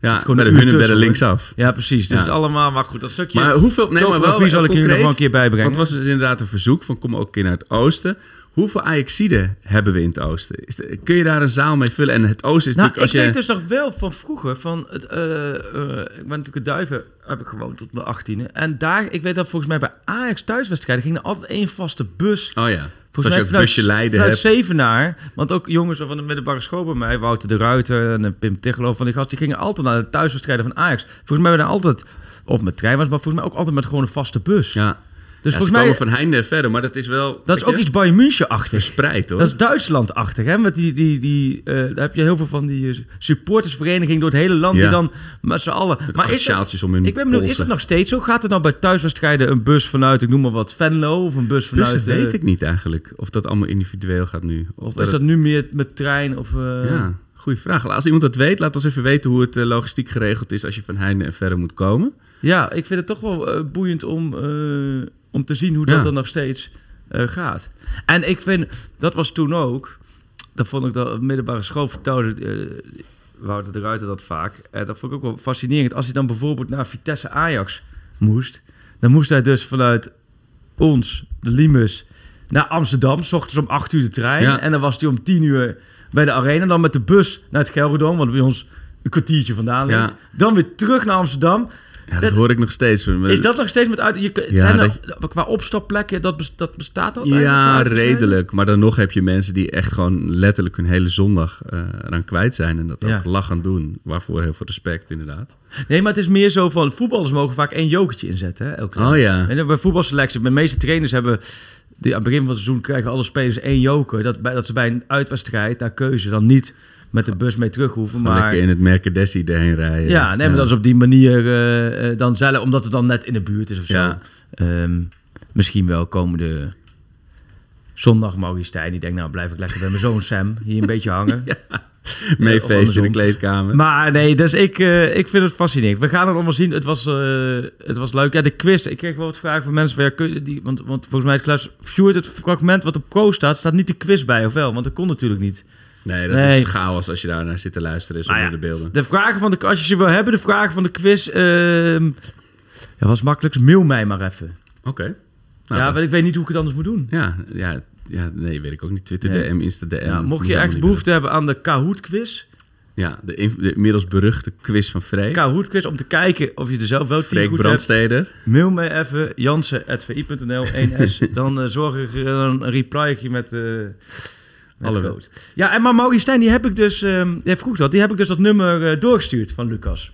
[SPEAKER 8] Ja,
[SPEAKER 9] Het gewoon
[SPEAKER 8] bij de
[SPEAKER 9] een uur
[SPEAKER 8] Hunnenbergen
[SPEAKER 9] tussen,
[SPEAKER 8] linksaf.
[SPEAKER 9] Ja, precies.
[SPEAKER 8] Ja.
[SPEAKER 9] Dus het is allemaal, maar goed, dat stukje...
[SPEAKER 8] Maar hoeveel... Nee, maar wel
[SPEAKER 9] topografie zal ik jullie nog
[SPEAKER 8] concreet,
[SPEAKER 9] wel een keer bijbrengen.
[SPEAKER 8] Want het was dus inderdaad een verzoek van kom ook een keer naar het oosten. Hoeveel Ajaxiden hebben we in het oosten? Is de- kun je daar een zaal mee vullen? En het oosten is
[SPEAKER 9] Nou, ik
[SPEAKER 8] natuurlijk als
[SPEAKER 9] weet
[SPEAKER 8] je...
[SPEAKER 9] dus nog wel van vroeger, van het, eh, eh, ik ben natuurlijk in Duiven, heb ik gewoond tot mijn 18e. En daar, ik weet dat volgens mij bij Ajax thuiswedstrijden ging er altijd één vaste bus.
[SPEAKER 8] Oh ja,
[SPEAKER 9] dus- Volgens
[SPEAKER 8] zoals je ook
[SPEAKER 9] vanuit-
[SPEAKER 8] busje Leiden
[SPEAKER 9] vanuit
[SPEAKER 8] hebt.
[SPEAKER 9] Zevenaar, want ook jongens van de middelbare school bij mij, Wouter de Ruiter en eh, Pim Tichelo van die gast, die gingen altijd naar de thuiswedstrijden van Ajax. Volgens mij werden er altijd, of met trein was, maar volgens mij ook altijd met gewoon een vaste bus.
[SPEAKER 8] Ja, dus volgens ze
[SPEAKER 9] dus volgens
[SPEAKER 8] mij...
[SPEAKER 9] mij,
[SPEAKER 8] komen van heinde verder, maar dat is wel...
[SPEAKER 9] dat
[SPEAKER 8] weet
[SPEAKER 9] is
[SPEAKER 8] je,
[SPEAKER 9] ook iets Bayern München-achtigs.
[SPEAKER 8] verspreid, hoor.
[SPEAKER 9] Dat is Duitsland-achtig, hè? Met die, die, die, eh, daar heb je heel veel van die eh, supportersvereniging door het hele land
[SPEAKER 8] Ja.
[SPEAKER 9] die dan met z'n allen...
[SPEAKER 8] acht
[SPEAKER 9] is dat-
[SPEAKER 8] sjaaltjes om hun
[SPEAKER 9] Ik ben benieuwd, is
[SPEAKER 8] polsen.
[SPEAKER 9] dat nog steeds zo? Gaat er nou bij thuiswedstrijden een bus vanuit, ik noem maar wat, Venlo? Of een bus
[SPEAKER 8] Dus
[SPEAKER 9] vanuit...
[SPEAKER 8] dat weet
[SPEAKER 9] eh,
[SPEAKER 8] ik niet eigenlijk, of dat allemaal individueel gaat nu. Of
[SPEAKER 9] Of is dat nu meer met trein of... eh,
[SPEAKER 8] Ja, goede vraag. Als iemand dat weet, laat ons even weten hoe het eh, logistiek geregeld is als je van heinde en verder moet komen.
[SPEAKER 9] ja, ik vind het toch wel eh, boeiend om, eh, om te zien hoe
[SPEAKER 8] Ja.
[SPEAKER 9] dat dan nog steeds eh, gaat. En ik vind, dat was toen ook... Dat vond ik dat middelbare school vertelde... eh, Wouter de Ruiter dat vaak. Eh, dat vond ik ook wel fascinerend. Als hij dan bijvoorbeeld naar Vitesse Ajax moest... dan moest hij dus vanuit ons, de Limus, naar Amsterdam. S ochtends om 8 uur de trein.
[SPEAKER 8] Ja.
[SPEAKER 9] En dan was hij om 10 uur bij de arena. Dan met de bus naar het Gelredome, wat bij ons een kwartiertje vandaan ligt.
[SPEAKER 8] Ja.
[SPEAKER 9] Dan weer terug naar Amsterdam.
[SPEAKER 8] Ja, dat,
[SPEAKER 9] Dat-
[SPEAKER 8] hoor ik nog steeds.
[SPEAKER 9] Is dat nog steeds met uit... Je, kun-
[SPEAKER 8] Eh, Ja,
[SPEAKER 9] zijn er, Qua opstapplekken, dat, bes- dat bestaat dat
[SPEAKER 8] Ja,
[SPEAKER 9] eigenlijk?
[SPEAKER 8] redelijk. Maar dan nog heb je mensen die echt gewoon letterlijk hun hele zondag eh eraan kwijt zijn. En dat ook
[SPEAKER 9] Ja.
[SPEAKER 8] lachend doen. Waarvoor heel veel respect, inderdaad.
[SPEAKER 9] Nee, maar het is meer zo van... Voetballers mogen vaak één jokertje inzetten, hè? Elk jaar.
[SPEAKER 8] Oh ja.
[SPEAKER 9] En bij voetbalselectie, de meeste trainers hebben... Die, aan het begin van het seizoen krijgen alle spelers één joker. Dat, bij, dat ze bij een uitwedstrijd, naar keuze, dan niet met de bus mee terug hoeven.
[SPEAKER 8] Maar...
[SPEAKER 9] Maar
[SPEAKER 8] Lekker in het Mercedessie erheen rijden.
[SPEAKER 9] Ja, nee, maar dat is op die manier eh, eh, dan zelf, omdat het dan net in de buurt is of zo.
[SPEAKER 8] Ja.
[SPEAKER 9] Ehm, misschien wel komende zondag Maurice Stijn. Die denkt, nou blijf ik lekker bij mijn zoon Sam hier een beetje hangen.
[SPEAKER 8] Mee
[SPEAKER 9] Of
[SPEAKER 8] feest in de
[SPEAKER 9] andersom.
[SPEAKER 8] kleedkamer.
[SPEAKER 9] Maar nee, dus ik, eh, ik vind het fascinerend. We gaan het allemaal zien. Het was, eh, het was leuk. Ja, de quiz. Ik kreeg wel wat vragen van mensen. Van, ja, kun je die, want, want volgens mij is Klaus Sjoerd het fragment wat op pro staat, staat niet de quiz bij, of wel? Want dat kon natuurlijk niet.
[SPEAKER 8] Nee, dat
[SPEAKER 9] Nee.
[SPEAKER 8] is chaos als je daar naar zit te luisteren zonder
[SPEAKER 9] Nou ja,
[SPEAKER 8] de beelden.
[SPEAKER 9] De vragen van de als je ze wil hebben, de vragen van de quiz. ehm ja, was makkelijkst. Mail mij maar even.
[SPEAKER 8] Oké. Nou,
[SPEAKER 9] ja,
[SPEAKER 8] dat-
[SPEAKER 9] want ik weet niet hoe ik het anders moet doen.
[SPEAKER 8] ja, ja, ja, nee, weet ik ook niet. Twitter
[SPEAKER 9] Nee.
[SPEAKER 8] DM, Insta DM.
[SPEAKER 9] Ja,
[SPEAKER 8] moet
[SPEAKER 9] mocht je
[SPEAKER 8] allemaal
[SPEAKER 9] echt
[SPEAKER 8] niet
[SPEAKER 9] behoefte hebben aan de Kahoot-quiz.
[SPEAKER 8] bedenken. Ja, de, inf- de inmiddels beruchte quiz van Freek.
[SPEAKER 9] Kahoot-quiz om te kijken of je er zelf wel tien
[SPEAKER 8] Freek
[SPEAKER 9] goed hebt.
[SPEAKER 8] Brandsteder.
[SPEAKER 9] Mail mij even jansen.vi.nl 1s. dan eh, zorg ik er dan een replyje met... eh met
[SPEAKER 8] Alle-
[SPEAKER 9] code. Ja, en maar Maurice Stijn, die heb ik dus... ehm jij vroeg dat. Die heb ik dus dat nummer eh, doorgestuurd van Lucas.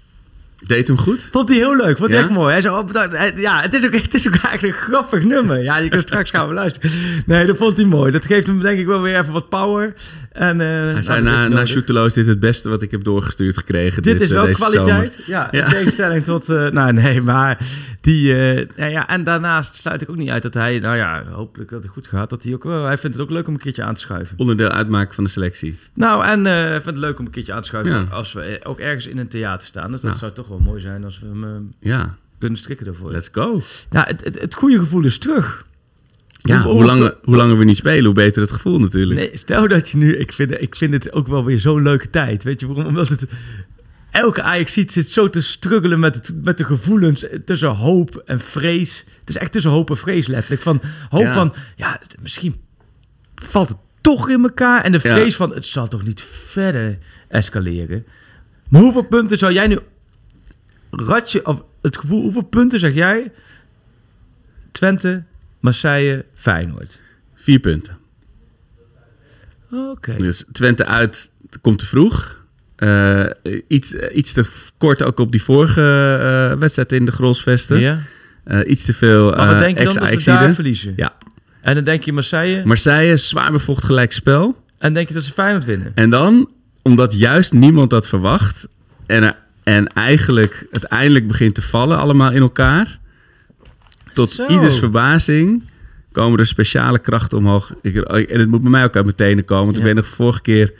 [SPEAKER 8] Deed hem goed?
[SPEAKER 9] Vond hij heel leuk, vond hij
[SPEAKER 8] Ja?
[SPEAKER 9] echt mooi. Hij zei, oh, bedankt. Hij- ja, het is, ook, het is ook eigenlijk een grappig nummer. Ja, je kan straks gaan we luisteren. Nee, dat vond hij mooi. Dat geeft hem denk ik wel weer even wat power. En, eh, nou,
[SPEAKER 8] Hij zei,
[SPEAKER 9] dat
[SPEAKER 8] na, na
[SPEAKER 9] heeft nodig.
[SPEAKER 8] Shootelo is dit het beste wat ik heb doorgestuurd gekregen.
[SPEAKER 9] Dit is
[SPEAKER 8] eh,
[SPEAKER 9] wel
[SPEAKER 8] deze
[SPEAKER 9] kwaliteit.
[SPEAKER 8] zomer.
[SPEAKER 9] Ja,
[SPEAKER 8] Ja.
[SPEAKER 9] in tegenstelling tot... eh, nou, nee, maar die... eh, nou ja, en daarnaast sluit ik ook niet uit dat hij... Nou ja, hopelijk dat het goed gaat. Dat hij ook... wel- hij vindt het ook leuk om een keertje aan te schuiven.
[SPEAKER 8] Onderdeel uitmaken van de selectie.
[SPEAKER 9] Nou, en eh, ik vind het leuk om een keertje aan te schuiven
[SPEAKER 8] Ja.
[SPEAKER 9] als we eh, ook ergens in een theater staan. Dus dat
[SPEAKER 8] Ja.
[SPEAKER 9] zou toch wel mooi zijn als we hem eh,
[SPEAKER 8] Ja,
[SPEAKER 9] kunnen strikken daarvoor.
[SPEAKER 8] let's go.
[SPEAKER 9] Nou, het, het, het goede gevoel is terug.
[SPEAKER 8] Ja,
[SPEAKER 9] Hoe-
[SPEAKER 8] hoe, langer, hoe langer we niet spelen, hoe beter het gevoel natuurlijk.
[SPEAKER 9] Nee, stel dat je nu... Ik vind, ik vind het ook wel weer zo'n leuke tijd. Weet je waarom? Omdat het... Elke ajax zit zo te struggelen met, het, met de gevoelens tussen hoop en vrees. Het is echt tussen hoop en vrees letterlijk. Van hoop
[SPEAKER 8] Ja.
[SPEAKER 9] van, ja, misschien valt het toch in elkaar. En de
[SPEAKER 8] Ja.
[SPEAKER 9] vrees van, het zal toch niet verder escaleren. Maar hoeveel punten zou jij nu... Ratje, of het gevoel, hoeveel punten zeg jij? Twente, Marseille, Feyenoord.
[SPEAKER 8] Vier punten.
[SPEAKER 9] Oké.
[SPEAKER 8] Dus Twente uit komt te vroeg. Eh, iets, eh, iets te f- kort ook op die vorige eh, wedstrijd in de Grolsvesten.
[SPEAKER 9] Ja.
[SPEAKER 8] Eh, iets te veel
[SPEAKER 9] Maar wat
[SPEAKER 8] eh,
[SPEAKER 9] denk je dan dat ze
[SPEAKER 8] ex-Ajaxiden.
[SPEAKER 9] daar verliezen?
[SPEAKER 8] Ja.
[SPEAKER 9] En dan denk je Marseille.
[SPEAKER 8] Marseille, zwaar bevocht gelijkspel.
[SPEAKER 9] En denk je dat ze Feyenoord winnen?
[SPEAKER 8] En dan, omdat juist niemand dat verwacht... en, er- en eigenlijk het eindelijk begint te vallen allemaal in elkaar... tot
[SPEAKER 9] Zo.
[SPEAKER 8] ieders verbazing komen er speciale krachten omhoog. Ik, en het moet bij mij ook uit mijn tenen komen. Want ik
[SPEAKER 9] Ja.
[SPEAKER 8] weet nog vorige keer...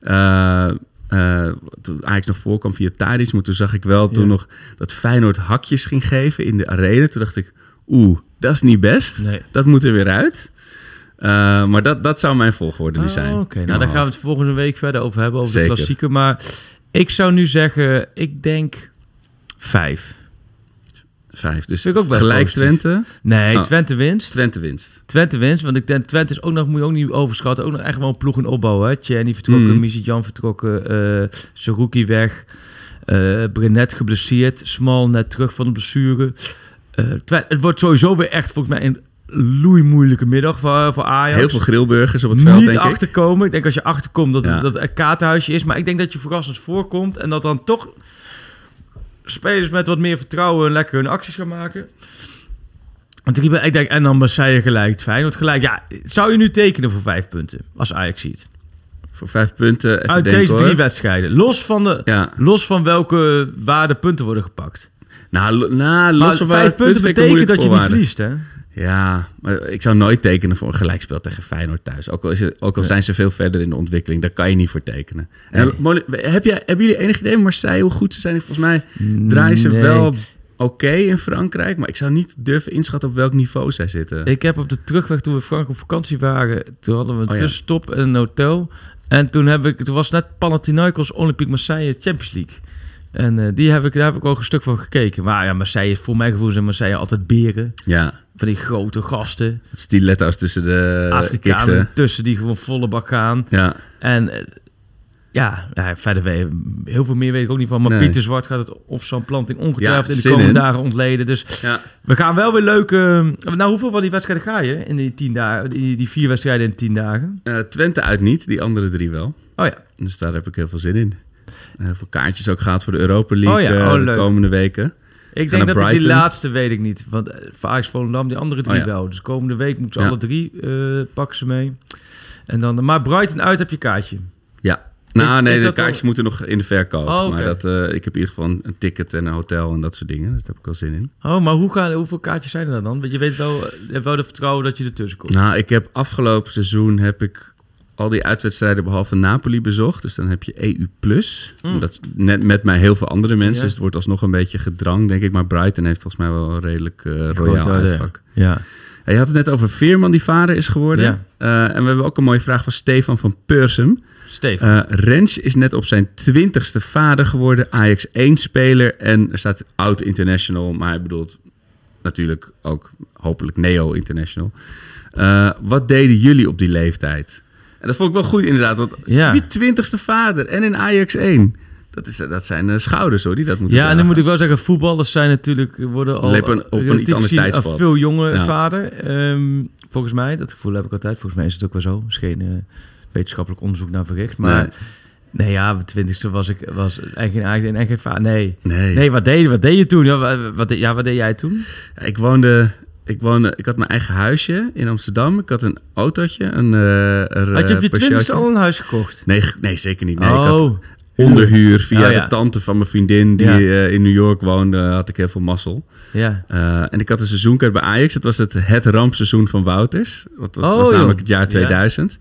[SPEAKER 8] eh, eh, toen Ajax nog voorkwam via Tadic... maar toen zag ik wel toen
[SPEAKER 9] Ja.
[SPEAKER 8] nog dat Feyenoord hakjes ging geven in de arena. Toen dacht ik, oeh, dat is niet best.
[SPEAKER 9] Nee.
[SPEAKER 8] Dat moet er weer uit. Eh, maar dat, dat zou mijn volgorde nu zijn.
[SPEAKER 9] Oké, nou daar gaan we het volgende week verder over hebben, over
[SPEAKER 8] Zeker.
[SPEAKER 9] de klassieke. Maar ik zou nu zeggen, ik denk vijf.
[SPEAKER 8] Vijf. Dus
[SPEAKER 9] Vind ik ook best
[SPEAKER 8] gelijk
[SPEAKER 9] positief.
[SPEAKER 8] Twente.
[SPEAKER 9] Nee,
[SPEAKER 8] Oh.
[SPEAKER 9] Twente winst.
[SPEAKER 8] Twente winst.
[SPEAKER 9] Twente winst, want ik denk Twente is ook nog, moet je ook niet overschatten, ook nog echt wel een ploeg in opbouw. Hè? Tjerni vertrokken,
[SPEAKER 8] Mm.
[SPEAKER 9] Jan vertrokken, eh Saruki weg, eh Brenet geblesseerd, Smal net terug van de blessure. Eh, Twen- het wordt sowieso weer echt volgens mij een loeimoeilijke middag voor, voor Ajax.
[SPEAKER 8] Heel veel grillburgers op het veld,
[SPEAKER 9] niet
[SPEAKER 8] denk ik.
[SPEAKER 9] achterkomen. Ik. denk als je achterkomt dat,
[SPEAKER 8] Ja.
[SPEAKER 9] het, dat het een kaartenhuisje is. Maar ik denk dat je verrassend voorkomt. En dat dan toch spelers met wat meer vertrouwen lekker hun acties gaan maken. Want ik, ben- ik denk, en dan Marseille gelijk, Feyenoord gelijk. Ja, zou je nu tekenen voor vijf punten als Ajax ziet?
[SPEAKER 8] Voor vijf punten. Even
[SPEAKER 9] Uit
[SPEAKER 8] denken,
[SPEAKER 9] deze drie
[SPEAKER 8] hoor.
[SPEAKER 9] wedstrijden. Los van, de,
[SPEAKER 8] Ja.
[SPEAKER 9] los van welke waarde punten worden gepakt.
[SPEAKER 8] Nou, lo- nou, los
[SPEAKER 9] Maar
[SPEAKER 8] van waar-
[SPEAKER 9] vijf punten
[SPEAKER 8] vind ik een
[SPEAKER 9] betekent
[SPEAKER 8] moeilijke
[SPEAKER 9] dat je niet
[SPEAKER 8] voorwaarde.
[SPEAKER 9] verliest, hè?
[SPEAKER 8] Ja, maar ik zou nooit tekenen voor een gelijkspel tegen Feyenoord thuis. Ook al, is het, ook al
[SPEAKER 9] Nee.
[SPEAKER 8] zijn ze veel verder in de ontwikkeling, daar kan je niet voor tekenen. En,
[SPEAKER 9] Nee.
[SPEAKER 8] Moni- heb jij, hebben jullie enig idee, Marseille, hoe goed ze zijn? Volgens mij draaien ze
[SPEAKER 9] Nee.
[SPEAKER 8] wel oké in Frankrijk, maar ik zou niet durven inschatten op welk niveau zij zitten.
[SPEAKER 9] Ik heb op de terugweg toen we Frank op vakantie waren, toen hadden we een
[SPEAKER 8] Oh ja.
[SPEAKER 9] tussenstop en een hotel. En toen heb ik, toen was net Panathinaikos Olympique Marseille Champions League. En eh, die heb ik, daar heb ik ook een stuk van gekeken. Maar ja, Marseille, voor mijn gevoel zijn Marseille altijd beren.
[SPEAKER 8] Ja,
[SPEAKER 9] Van die grote gasten,
[SPEAKER 8] stiletto's tussen de
[SPEAKER 9] Afrikanen
[SPEAKER 8] kiksen.
[SPEAKER 9] tussen die gewoon volle bak gaan.
[SPEAKER 8] Ja,
[SPEAKER 9] En eh, ja, ja, verder weet, heel veel meer weet ik ook niet van. Maar
[SPEAKER 8] Nee.
[SPEAKER 9] Pieter Zwart gaat het of zo'n planting ongetwijfeld
[SPEAKER 8] Ja,
[SPEAKER 9] in de
[SPEAKER 8] zin
[SPEAKER 9] komende
[SPEAKER 8] in.
[SPEAKER 9] dagen ontleden. Dus
[SPEAKER 8] ja.
[SPEAKER 9] we gaan wel weer leuk. eh, nou, hoeveel van die wedstrijden ga je in die, tien dagen, in die, die vier wedstrijden in tien dagen?
[SPEAKER 8] Eh, Twente uit niet, die andere drie wel.
[SPEAKER 9] Oh ja.
[SPEAKER 8] Dus daar heb ik heel veel zin in. Eh veel kaartjes ook gehad voor de Europa League
[SPEAKER 9] Oh ja,
[SPEAKER 8] eh,
[SPEAKER 9] oh,
[SPEAKER 8] de
[SPEAKER 9] leuk.
[SPEAKER 8] komende weken. naar
[SPEAKER 9] Ik denk dat ik die
[SPEAKER 8] Brighton.
[SPEAKER 9] laatste weet ik niet. Want eh, voor Ajax Volendam, die andere drie
[SPEAKER 8] Oh ja.
[SPEAKER 9] wel. Dus komende week moeten ze
[SPEAKER 8] Ja.
[SPEAKER 9] alle drie eh, pakken ze mee. En dan, maar Brighton uit heb je kaartje.
[SPEAKER 8] Ja. Nou,
[SPEAKER 9] Is-
[SPEAKER 8] nee,
[SPEAKER 9] is
[SPEAKER 8] de
[SPEAKER 9] dat
[SPEAKER 8] kaartjes
[SPEAKER 9] dan-
[SPEAKER 8] moeten nog in de verkoop.
[SPEAKER 9] Oh, oké.
[SPEAKER 8] Maar dat, eh, ik heb in ieder geval een, een ticket en een hotel en dat soort dingen. Dus daar heb ik wel zin in.
[SPEAKER 9] Oh, maar hoe gaan, hoeveel kaartjes zijn er dan dan? Want je weet wel, eh, je hebt wel de vertrouwen dat je ertussen komt.
[SPEAKER 8] Nou, ik heb afgelopen seizoen heb ik al die uitwedstrijden behalve Napoli bezocht. Dus dan heb je EU+.
[SPEAKER 9] Mm.
[SPEAKER 8] Dat is net met mij heel veel andere mensen.
[SPEAKER 9] Ja.
[SPEAKER 8] Dus het wordt alsnog een beetje gedrang, denk ik. Maar Brighton heeft volgens mij wel een redelijk eh
[SPEAKER 9] Goed,
[SPEAKER 8] royaal
[SPEAKER 9] hoor,
[SPEAKER 8] uitvak.
[SPEAKER 9] Ja.
[SPEAKER 8] Ja, je had het net over Veerman die vader is geworden.
[SPEAKER 9] Ja.
[SPEAKER 8] Eh, en we hebben ook een mooie vraag van Stefan van Peursem.
[SPEAKER 9] Steven.
[SPEAKER 8] Eh Rens is net op zijn twintigste vader geworden. Ajax 1 speler. En er staat oud international. Maar hij bedoelt natuurlijk ook hopelijk neo international. Eh, wat deden jullie op die leeftijd? En dat vond ik wel goed inderdaad. Want
[SPEAKER 9] Ja.
[SPEAKER 8] je twintigste vader en in Ajax 1. Dat, is, dat zijn eh, schouders hoor, die dat moeten
[SPEAKER 9] Ja, en dan
[SPEAKER 8] dragen.
[SPEAKER 9] moet ik wel zeggen, voetballers zijn natuurlijk, worden al
[SPEAKER 8] Lepen op een iets
[SPEAKER 9] relatief
[SPEAKER 8] ander
[SPEAKER 9] gezien een
[SPEAKER 8] tijdspad.
[SPEAKER 9] veel jonger
[SPEAKER 8] Ja.
[SPEAKER 9] vader. Ehm, volgens mij, dat gevoel heb ik altijd. Volgens mij is het ook wel zo. Er is geen eh, wetenschappelijk onderzoek naar verricht. Maar nee,
[SPEAKER 8] Nee.
[SPEAKER 9] ja, op de twintigste was ik was en geen eigen en geen vader. Nee.
[SPEAKER 8] Nee. Eh,
[SPEAKER 9] Nee, wat deed, wat deed je toen? Ja, wat, wat, deed- ja, wat deed jij toen?
[SPEAKER 8] Ik woonde Ik, woonde, ik had mijn eigen huisje in Amsterdam. Ik had een autootje. Een, eh een
[SPEAKER 9] Had je op je
[SPEAKER 8] eh,
[SPEAKER 9] twintigste
[SPEAKER 8] Peugeotje.
[SPEAKER 9] al een huis gekocht?
[SPEAKER 8] Nee, ge- nee, zeker niet. Nee, ik had
[SPEAKER 9] Oh.
[SPEAKER 8] onderhuur via
[SPEAKER 9] Oh, ja.
[SPEAKER 8] de tante van mijn vriendin die
[SPEAKER 9] Ja.
[SPEAKER 8] eh, in New York woonde. Had ik heel veel mazzel.
[SPEAKER 9] Ja.
[SPEAKER 8] Eh, en ik had een seizoenkaart bij Ajax. Dat was het, het rampseizoen van Wouters. Dat, dat
[SPEAKER 9] Oh,
[SPEAKER 8] was
[SPEAKER 9] joh.
[SPEAKER 8] namelijk het jaar
[SPEAKER 9] Ja.
[SPEAKER 8] 2000.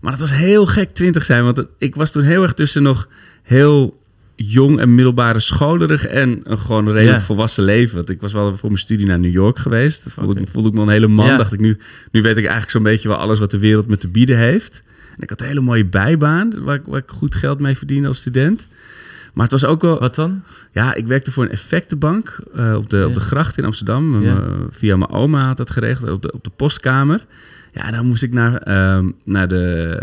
[SPEAKER 8] Maar dat was heel gek 20 zijn. Want het- ik was toen heel erg tussen nog heel jong en middelbare scholerig... en een gewoon redelijk
[SPEAKER 9] Ja.
[SPEAKER 8] volwassen leven. Want ik was wel voor mijn studie naar New York geweest. Dat voelde, ik, voelde ik me een hele man.
[SPEAKER 9] Ja.
[SPEAKER 8] Dacht ik, nu, nu weet ik eigenlijk zo'n beetje wel alles wat de wereld me te bieden heeft. En ik had een hele mooie bijbaan waar, ik- waar ik goed geld mee verdiende als student. Maar het was ook wel...
[SPEAKER 9] Wat dan?
[SPEAKER 8] Ja, ik werkte voor een effectenbank eh, op, de, op de
[SPEAKER 9] Ja.
[SPEAKER 8] gracht in Amsterdam. Mijn-
[SPEAKER 9] Ja.
[SPEAKER 8] eh, via mijn oma had dat geregeld, op de, op de postkamer. Ja, dan moest ik naar, ehm, naar de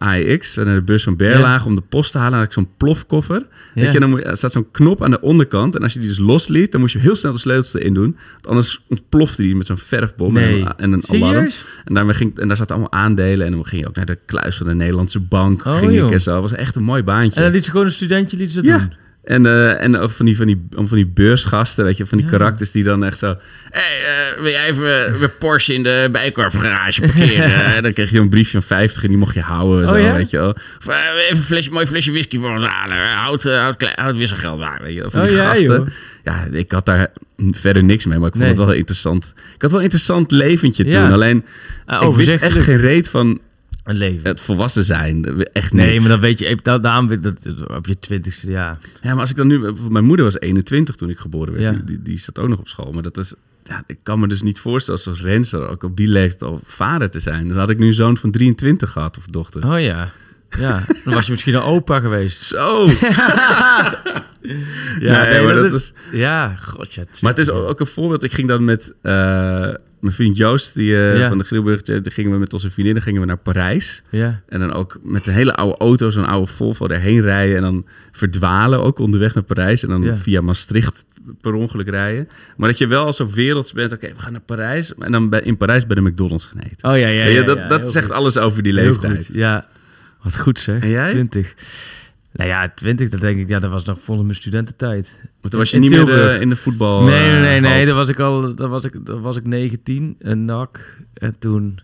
[SPEAKER 8] eh, AEX, naar de bus van Berlage, om de post te halen. Dan had ik zo'n plofkoffer.
[SPEAKER 9] Ja.
[SPEAKER 8] Weet je, dan moet, er staat zo'n knop aan de onderkant. En als je die dus losliet, dan moest je heel snel de sleutels erin doen. Want anders ontplofte die met zo'n verfbom en
[SPEAKER 9] Nee.
[SPEAKER 8] een, en een alarm.
[SPEAKER 9] Serieus?
[SPEAKER 8] En, daarmee ging, en daar zaten allemaal aandelen. En dan ging je ook naar de kluis van de Nederlandse bank.
[SPEAKER 9] Oh,
[SPEAKER 8] ging
[SPEAKER 9] joh.
[SPEAKER 8] ik en zo. Het was echt een mooi baantje.
[SPEAKER 9] En dan liet ze gewoon een studentje liet ze dat
[SPEAKER 8] Ja.
[SPEAKER 9] doen?
[SPEAKER 8] En, eh, en ook van die, van, die, van die beursgasten, weet je, van die
[SPEAKER 9] Ja.
[SPEAKER 8] karakters die dan echt zo... Hé, eh, wil jij even eh, mijn Porsche in de bijkorfgarage parkeren? En dan kreeg je een briefje van 50 en die mocht je houden, zo,
[SPEAKER 9] Oh, ja?
[SPEAKER 8] weet je wel. Of, eh, even een flesje, mooi flesje whisky voor ons halen. eh, Houd, eh, houd, kle- houd wisselgeld maar, weet je wel. Van die
[SPEAKER 9] Oh, ja,
[SPEAKER 8] gasten.
[SPEAKER 9] joh.
[SPEAKER 8] Ja, ik had daar verder niks mee, maar ik vond
[SPEAKER 9] Nee.
[SPEAKER 8] het wel heel interessant. Ik had wel een interessant leventje
[SPEAKER 9] Ja.
[SPEAKER 8] toen, alleen
[SPEAKER 9] Ah,
[SPEAKER 8] ik wist echt
[SPEAKER 9] overzichtelijk.
[SPEAKER 8] geen reet van
[SPEAKER 9] Een leven.
[SPEAKER 8] het volwassen zijn. Echt niks.
[SPEAKER 9] Nee, maar dan weet je, da- daarom weet dat, dat- op je twintigste jaar.
[SPEAKER 8] Ja, maar als ik dan nu... bijvoorbeeld Mijn moeder was 21 toen ik geboren werd.
[SPEAKER 9] Ja.
[SPEAKER 8] Die, die, die zat ook nog op school. Maar dat is... Ja, ik kan me dus niet voorstellen zoals Renser ook op die leeftijd al vader te zijn. Dan had ik nu een zoon van 23 gehad of dochter.
[SPEAKER 9] Oh ja. Ja, dan was je misschien al opa geweest.
[SPEAKER 8] Zo! ja, nee, maar, dat is...
[SPEAKER 9] Ja, godje.
[SPEAKER 8] maar het is ook een voorbeeld. Ik ging dan met eh, mijn vriend Joost die, eh,
[SPEAKER 9] Ja.
[SPEAKER 8] van de Grilburg... eh, die gingen we met onze vriendinnen gingen we naar Parijs.
[SPEAKER 9] Ja.
[SPEAKER 8] En dan ook met een hele oude auto, zo'n oude Volvo, erheen rijden. En dan verdwalen, ook onderweg naar Parijs. En dan
[SPEAKER 9] Ja.
[SPEAKER 8] via Maastricht per ongeluk rijden. Maar dat je wel als een werelds bent. Oké, we gaan naar Parijs. En dan bij, in Parijs bij de McDonald's gaan eten.
[SPEAKER 9] Oh ja, ja, ja.
[SPEAKER 8] Weet je,
[SPEAKER 9] ja,
[SPEAKER 8] dat
[SPEAKER 9] ja,
[SPEAKER 8] dat
[SPEAKER 9] heel
[SPEAKER 8] zegt
[SPEAKER 9] goed.
[SPEAKER 8] alles over die
[SPEAKER 9] Heel
[SPEAKER 8] leeftijd.
[SPEAKER 9] goed, Ja, wat goed zeg.
[SPEAKER 8] En jij?
[SPEAKER 9] 20. Nou ja, 20, dat denk ik, ja, dat was nog vol in mijn studententijd.
[SPEAKER 8] Want toen was je
[SPEAKER 9] In
[SPEAKER 8] niet meer
[SPEAKER 9] Tilburg.
[SPEAKER 8] eh, in de voetbal.
[SPEAKER 9] nee,
[SPEAKER 8] eh,
[SPEAKER 9] nee, nee, nee,
[SPEAKER 8] hal.
[SPEAKER 9] dan was ik al, dan was ik, dan was ik 19, een nak. En toen.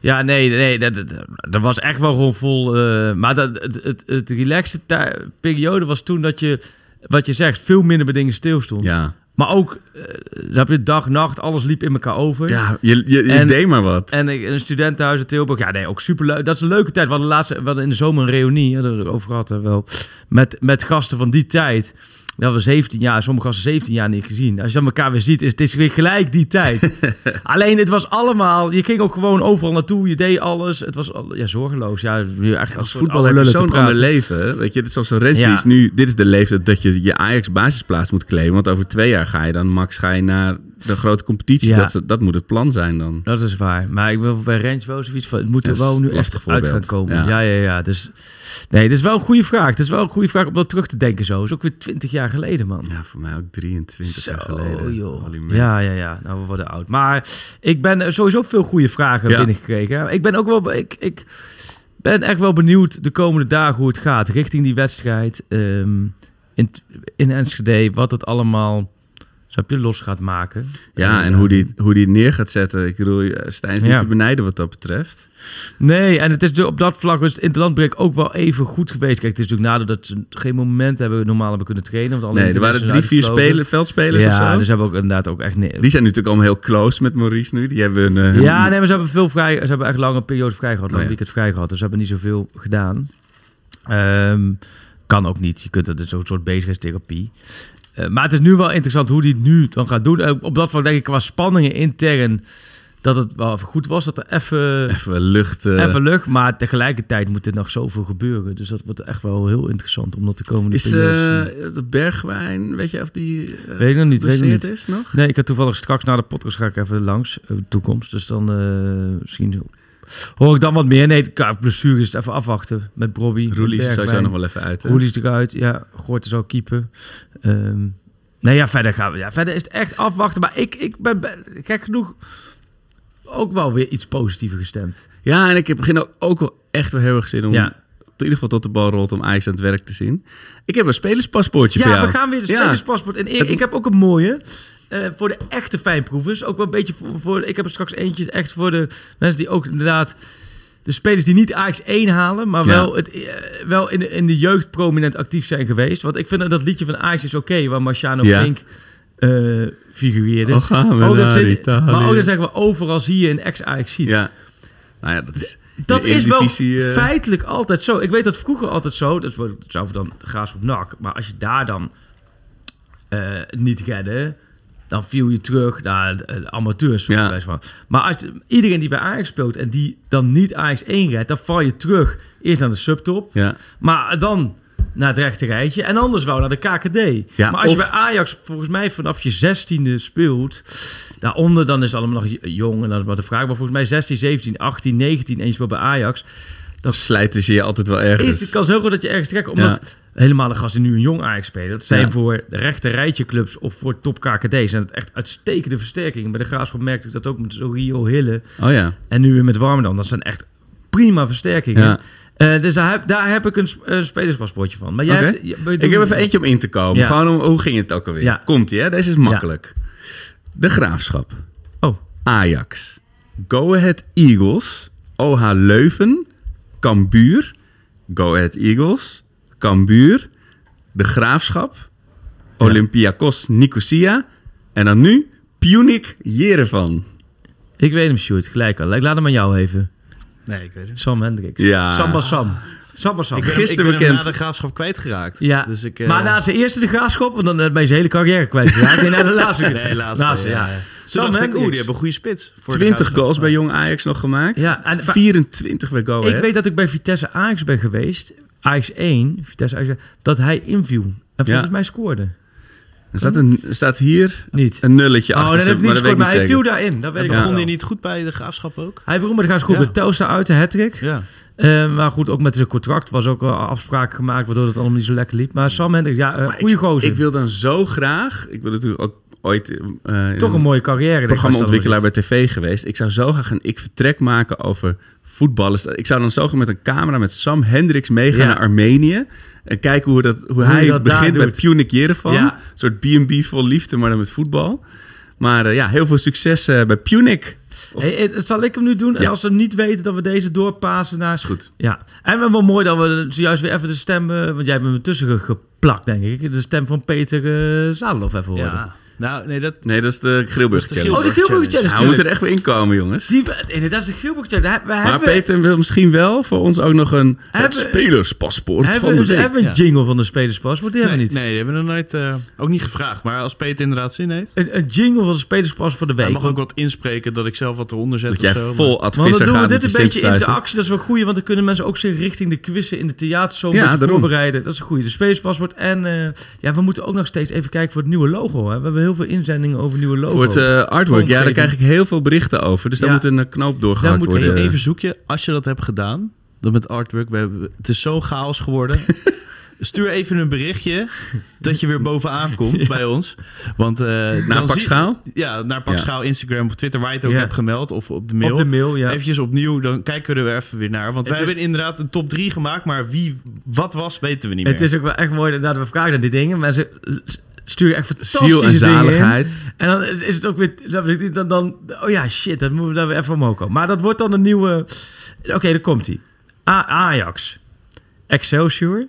[SPEAKER 9] Ja, nee, nee, dat, dat, dat was echt wel gewoon vol. eh, maar dat, het, het, het relaxte tij- periode was toen dat je, wat je zegt, veel minder bij dingen stilstond.
[SPEAKER 8] Ja,
[SPEAKER 9] Maar ook, eh, dan heb je dag, nacht, alles liep in elkaar over.
[SPEAKER 8] ja je, je, je
[SPEAKER 9] En-
[SPEAKER 8] deed maar wat.
[SPEAKER 9] En ik- een studentenhuis in Tilburg. Ja, nee, ook superleuk. Dat is een leuke tijd. We hadden, laatste, we hadden in de zomer een reunie. Ja, daar hebben we het over gehad hè, wel. Met, met gasten van die tijd. Dat we 17 jaar, sommige gasten 17 jaar niet gezien. Als je dan elkaar weer ziet, is het is weer gelijk die tijd. Alleen het was allemaal, je ging ook gewoon overal naartoe. Je deed alles. Het was al, ja, zorgeloos. Ja, eigenlijk
[SPEAKER 8] als voetballer heb je zo'n ander leven. hè. Weet je, dit is zoals een rest
[SPEAKER 9] Ja.
[SPEAKER 8] die is nu... Dit is de leeftijd dat je je Ajax basisplaats moet claimen. Want over twee jaar ga je dan max ga je naar de grote competitie.
[SPEAKER 9] Ja.
[SPEAKER 8] Dat, is- dat moet het plan zijn dan.
[SPEAKER 9] Dat is waar. Maar ik wil bij Rens wel zoiets van... Het moet er
[SPEAKER 8] Dat is
[SPEAKER 9] wel nu
[SPEAKER 8] een lastig
[SPEAKER 9] echt uit gaan
[SPEAKER 8] voorbeeld.
[SPEAKER 9] komen.
[SPEAKER 8] Ja.
[SPEAKER 9] Ja. ja, ja, Dus nee, het is wel een goede vraag. Het is wel een goede vraag om dat terug te denken zo. Het is ook weer 20 jaar geleden, man.
[SPEAKER 8] Ja, voor mij ook 23
[SPEAKER 9] Zo,
[SPEAKER 8] jaar geleden. Holy
[SPEAKER 9] joh.
[SPEAKER 8] man.
[SPEAKER 9] Ja, ja, ja. Nou, we worden oud. Maar ik ben eh, sowieso veel goede vragen
[SPEAKER 8] Ja.
[SPEAKER 9] binnengekregen. Ik ben ook wel... Ik, ik ben echt wel benieuwd de komende dagen hoe het gaat. Richting die wedstrijd ehm, in, t- in Enschede. Wat het allemaal... Snap je, los gaat maken.
[SPEAKER 8] Ja, en
[SPEAKER 9] eh,
[SPEAKER 8] hoe die, hoe die neer gaat zetten. Ik bedoel, eh, Stijn is niet
[SPEAKER 9] Ja.
[SPEAKER 8] te benijden wat dat betreft.
[SPEAKER 9] ehm, Nee, en het is de- op dat vlak is het interlandbreek ook wel even goed geweest. Kijk, het is natuurlijk nadat dat ze geen moment hebben normaal hebben kunnen trainen. Want alle
[SPEAKER 8] Nee, er waren drie,
[SPEAKER 9] internationals
[SPEAKER 8] vier
[SPEAKER 9] uitgevlogen.
[SPEAKER 8] spelers, veldspelers of
[SPEAKER 9] Ja,
[SPEAKER 8] zo.
[SPEAKER 9] dus ze hebben ook inderdaad ook echt... Nee,
[SPEAKER 8] Die zijn natuurlijk allemaal heel close met Maurice nu. Die hebben een... eh,
[SPEAKER 9] ja,
[SPEAKER 8] hun-
[SPEAKER 9] nee, maar ze hebben veel vrij... Ze hebben echt lange periode vrij gehad. Lang
[SPEAKER 8] Oh, ja.
[SPEAKER 9] weekend vrij gehad. Dus ze hebben niet zoveel gedaan. Ehm, kan ook niet. Je kunt dat is zo'n soort bezigheidstherapie. Eh, maar het is nu wel interessant hoe die het nu dan gaat doen. Eh, op dat vlak denk ik qua spanningen intern... dat het wel even goed was. Dat er even...
[SPEAKER 8] Even lucht... eh,
[SPEAKER 9] Even lucht, maar tegelijkertijd moet er nog zoveel gebeuren. Dus dat wordt echt wel heel interessant om dat de komende
[SPEAKER 8] Is
[SPEAKER 9] periode te zien.
[SPEAKER 8] eh, de Bergwijn, weet je of die eh,
[SPEAKER 9] Weet ik nog niet, weet ik nog
[SPEAKER 8] geblesseerd
[SPEAKER 9] niet.
[SPEAKER 8] is nog?
[SPEAKER 9] Nee, ik had toevallig straks na de podcast ga ik even langs eh, de toekomst. Dus dan eh, misschien hoor ik dan wat meer. Nee, qua blessure is het even afwachten met Bobby.
[SPEAKER 8] Roelie is er sowieso nog wel even uit. hè?
[SPEAKER 9] Roelie is eruit, ja. Goort is al keeper. Ehm, nee, ja, verder gaan we. Ja, verder is het echt afwachten. Maar ik, ik ben, ben gek genoeg ook wel weer iets positiever gestemd.
[SPEAKER 8] Ja, en ik heb begin ook wel echt wel heel erg zin om...
[SPEAKER 9] Ja.
[SPEAKER 8] In ieder geval tot de bal rolt om Ajax aan het werk te zien. Ik heb een spelerspaspoortje voor
[SPEAKER 9] Ja,
[SPEAKER 8] jou.
[SPEAKER 9] we gaan weer de
[SPEAKER 8] Ja.
[SPEAKER 9] spelerspaspoort. En ik,
[SPEAKER 8] Het-
[SPEAKER 9] ik heb ook een mooie. Eh, eh, voor de echte fijnproevers. Ook wel een beetje voor, voor- Ik heb er straks eentje echt voor de mensen die ook inderdaad. De spelers die niet Ajax 1 halen, maar
[SPEAKER 10] Ja.
[SPEAKER 9] wel, het, eh, wel in, de, in de jeugd prominent actief zijn geweest. Want ik vind dat, dat liedje van Ajax is oké, waar Marciano
[SPEAKER 10] Ja.
[SPEAKER 9] Flink eh, figureerde.
[SPEAKER 10] Oh, gaan we
[SPEAKER 9] dat
[SPEAKER 10] naar
[SPEAKER 9] zit-
[SPEAKER 10] Italië.
[SPEAKER 9] Maar ook dan zeggen we, overal zie je een ex-Ajax ziet.
[SPEAKER 10] Ja. Nou ja, dat is...
[SPEAKER 9] Dat
[SPEAKER 10] de
[SPEAKER 9] is wel
[SPEAKER 10] Eredivisie, eh,
[SPEAKER 9] feitelijk altijd zo. Ik weet dat vroeger altijd zo. Dat wordt- dat zou dan graas op nak. Maar als je daar dan eh, niet redde, dan viel je terug naar de, de amateurs.
[SPEAKER 10] Ja.
[SPEAKER 9] wijze van. Maar als iedereen die bij Ajax speelt en die dan niet Ajax 1 redt, dan val je terug eerst naar de subtop.
[SPEAKER 10] Ja.
[SPEAKER 9] Maar dan naar het rechte rijtje. En anders wel naar de KKD.
[SPEAKER 10] Ja,
[SPEAKER 9] maar als je
[SPEAKER 10] of-
[SPEAKER 9] bij Ajax volgens mij vanaf je zestiende speelt... daaronder dan is het allemaal nog j- jong en dat is maar de vraag. Maar volgens mij 16, 17, 18, 19 en je speelt bij Ajax...
[SPEAKER 10] Dan slijten ze je altijd wel
[SPEAKER 9] is de
[SPEAKER 10] ergens.
[SPEAKER 9] kans heel groot dat je ergens trekt. Omdat helemaal de gasten die nu een jong Ajax spelen... dat zijn
[SPEAKER 10] Ja.
[SPEAKER 9] voor de rechte rijtje clubs of voor top KKD... zijn het echt uitstekende versterkingen. Bij de Graafschap merkte ik dat ook met zo Rio Hille...
[SPEAKER 10] Oh ja.
[SPEAKER 9] En nu weer met Warmerdam. Dat zijn echt prima versterkingen.
[SPEAKER 10] Ja.
[SPEAKER 9] Eh, dus daar heb, daar heb ik een, s- een spelerspaspoortje van. Maar jij
[SPEAKER 10] Oké.
[SPEAKER 9] hebt, je- we doen-
[SPEAKER 8] Ik heb even eentje om in te komen.
[SPEAKER 9] Ja.
[SPEAKER 8] Gewoon om, hoe ging het ook alweer?
[SPEAKER 9] Ja.
[SPEAKER 8] Komt ie, hè? Deze is makkelijk. De Graafschap.
[SPEAKER 9] Oh.
[SPEAKER 8] Ajax. Go Ahead Eagles. OH Leuven. Cambuur. Go Ahead Eagles. Cambuur. De Graafschap. Olympiakos Nicosia. En dan nu Punic Jerevan.
[SPEAKER 9] Ik weet hem, Sjoerd. Gelijk al. Ik laat hem aan jou even.
[SPEAKER 11] Nee, ik weet het.
[SPEAKER 9] Sam Hendricks.
[SPEAKER 8] Ja.
[SPEAKER 9] Samba Sam. Samba Sam.
[SPEAKER 11] Ik ben,
[SPEAKER 8] Gisteren
[SPEAKER 11] Gisteren ik ben hem
[SPEAKER 8] bekend.
[SPEAKER 11] na de graafschap kwijtgeraakt.
[SPEAKER 9] Ja.
[SPEAKER 11] Dus ik, eh,
[SPEAKER 9] Maar na zijn eerste de graafschop, want dan eh, ben je zijn hele carrière kwijt. Ja, ik denk na de laatste.
[SPEAKER 11] Nee, laatste.
[SPEAKER 9] Laatste,
[SPEAKER 11] ja.
[SPEAKER 9] ja.
[SPEAKER 11] Toen
[SPEAKER 9] Sam
[SPEAKER 11] dacht ik,
[SPEAKER 9] Hendricks.
[SPEAKER 11] oeh, die hebben een goede spits. Voor de
[SPEAKER 8] 20
[SPEAKER 11] Graafschap.
[SPEAKER 8] goals bij Jong Ajax nog gemaakt.
[SPEAKER 9] Ja, en-
[SPEAKER 8] 24 bij Go Ahead.
[SPEAKER 9] Ik weet dat ik bij Vitesse Ajax ben geweest. Ajax 1, Vitesse Ajax 1, dat hij inviel. En volgens
[SPEAKER 8] Ja.
[SPEAKER 9] mij scoorde.
[SPEAKER 8] Er staat, een, er staat hier
[SPEAKER 9] Niet.
[SPEAKER 8] een nulletje
[SPEAKER 9] oh,
[SPEAKER 8] achter.
[SPEAKER 9] dat
[SPEAKER 8] zit,
[SPEAKER 9] heb ik niet
[SPEAKER 8] maar
[SPEAKER 9] gescoord, maar
[SPEAKER 8] weet ik
[SPEAKER 9] hij
[SPEAKER 8] niet
[SPEAKER 9] viel
[SPEAKER 8] zeker.
[SPEAKER 9] daarin. Dat weet ik
[SPEAKER 11] Begon
[SPEAKER 9] wel.
[SPEAKER 11] die niet goed bij de graafschap ook?
[SPEAKER 9] Hij begon met de graafschop
[SPEAKER 11] Ja.
[SPEAKER 9] met Telstra uit de hattrick.
[SPEAKER 11] Ja.
[SPEAKER 9] Eh, maar goed, ook met zijn contract was ook wel afspraken gemaakt, waardoor het allemaal niet zo lekker liep. Maar Sam Hendrik, ja, eh,
[SPEAKER 8] Maar
[SPEAKER 9] goede
[SPEAKER 8] ik,
[SPEAKER 9] gozer.
[SPEAKER 8] Ik wil dan zo graag... Ik ben natuurlijk ook ooit... eh, in
[SPEAKER 9] Toch een mooie carrière. denk ik,
[SPEAKER 8] programmaontwikkelaar
[SPEAKER 9] als
[SPEAKER 8] bij tv geweest. Ik zou zo graag een ik-vertrek maken over voetballers. Ik zou dan zo graag met een camera met Sam Hendricks meegaan
[SPEAKER 9] Ja.
[SPEAKER 8] naar Armenië. En kijken hoe, dat, hoe,
[SPEAKER 9] Hoe
[SPEAKER 8] hij
[SPEAKER 9] je dat daar
[SPEAKER 8] begint bij
[SPEAKER 9] doet.
[SPEAKER 8] Punic Jerevan.
[SPEAKER 9] Ja.
[SPEAKER 8] Een soort B&B vol liefde, maar dan met voetbal. Maar eh, ja, heel veel succes eh, bij Punic.
[SPEAKER 9] dat is. Hey, eh, zal ik hem nu doen? En
[SPEAKER 8] Ja.
[SPEAKER 9] als ze niet weten dat we deze doorpassen naar...
[SPEAKER 8] Is goed.
[SPEAKER 9] Ja, en wel mooi dat we zojuist weer even de stem... eh, want jij hebt hem ertussen ge- geplakt, denk ik. De stem van Peter eh, Zadeloff even horen.
[SPEAKER 11] Ja. Nou, nee, dat...
[SPEAKER 8] Nee, dat is de Grilburg
[SPEAKER 11] Dat is de
[SPEAKER 8] Challenge.
[SPEAKER 9] Oh, de Gilburg Challenge.
[SPEAKER 8] Ja, we moeten
[SPEAKER 9] natuurlijk.
[SPEAKER 8] er echt weer inkomen, jongens.
[SPEAKER 9] Die, eh, dat is de Gilburg Challenge. Daar hebben- We
[SPEAKER 8] Maar
[SPEAKER 9] hebben,
[SPEAKER 8] Peter wil misschien wel voor ons ook nog een het
[SPEAKER 9] Hebben-
[SPEAKER 8] spelerspaspoort
[SPEAKER 9] hebben,
[SPEAKER 8] van de
[SPEAKER 9] we
[SPEAKER 8] week.
[SPEAKER 9] hebben een jingle van de spelerspas, maar die
[SPEAKER 11] Nee,
[SPEAKER 9] hebben we niet.
[SPEAKER 11] nee, die hebben we nog nooit... eh, ook niet gevraagd. Maar als Peter inderdaad zin heeft...
[SPEAKER 9] Een, een jingle van de spelerspas voor de week.
[SPEAKER 11] Hij mag
[SPEAKER 9] want-
[SPEAKER 11] ook wat inspreken dat ik zelf wat eronder zet
[SPEAKER 8] Dat jij
[SPEAKER 11] of zo. maar-
[SPEAKER 8] vol advisser
[SPEAKER 9] Want
[SPEAKER 8] gaat
[SPEAKER 9] dan doen we
[SPEAKER 8] met
[SPEAKER 9] dit een
[SPEAKER 8] die
[SPEAKER 9] beetje
[SPEAKER 8] synthesizer.
[SPEAKER 9] interactie. Dat is wel goed, want dan kunnen mensen ook zich richting de quizzen in de theater zo een
[SPEAKER 8] Ja,
[SPEAKER 9] beetje
[SPEAKER 8] daarom.
[SPEAKER 9] voorbereiden. Dat is een goede. De spelerspaswoord. En eh, ja, we moeten ook nog steeds even kijken voor het nieuwe logo. Hè. We hebben heel veel inzendingen over het nieuwe logo.
[SPEAKER 8] Voor het eh, artwork, ja, daar
[SPEAKER 9] Vormgeving.
[SPEAKER 8] krijg ik heel veel berichten over. Dus daar
[SPEAKER 9] Ja.
[SPEAKER 8] moet een eh, knoop
[SPEAKER 9] Daar
[SPEAKER 8] doorgehakt
[SPEAKER 9] moet
[SPEAKER 8] worden.
[SPEAKER 11] Even, even zoekje, als je dat hebt gedaan, dan met artwork, we hebben, het is zo chaos geworden. Stuur even een berichtje dat je weer bovenaan komt bij ons. Want, eh,
[SPEAKER 8] Naar
[SPEAKER 11] dan
[SPEAKER 8] pak
[SPEAKER 11] zie-
[SPEAKER 8] schaal.
[SPEAKER 11] Ja, naar Pak
[SPEAKER 8] Ja.
[SPEAKER 11] Schaal, Instagram of Twitter, waar je het ook
[SPEAKER 9] Ja.
[SPEAKER 11] hebt gemeld. Of op de mail.
[SPEAKER 9] Op de mail, ja.
[SPEAKER 11] Eventjes opnieuw, dan kijken we er weer even weer naar. Want
[SPEAKER 9] Het
[SPEAKER 11] wij
[SPEAKER 9] is-
[SPEAKER 11] hebben inderdaad een top 3 gemaakt, maar wie wat was, weten we niet
[SPEAKER 9] Het
[SPEAKER 11] meer.
[SPEAKER 9] is ook wel echt mooi dat we vragen naar die dingen. Mensen sturen echt fantastische
[SPEAKER 8] Ziel en
[SPEAKER 9] dingen in.
[SPEAKER 8] zaligheid.
[SPEAKER 9] En dan is het ook weer... dan- Dan, dan, oh ja, shit, dat moeten we daar weer even omhoog komen. Maar dat wordt dan een nieuwe... Oké, daar komt hij. Ajax, Excelsior,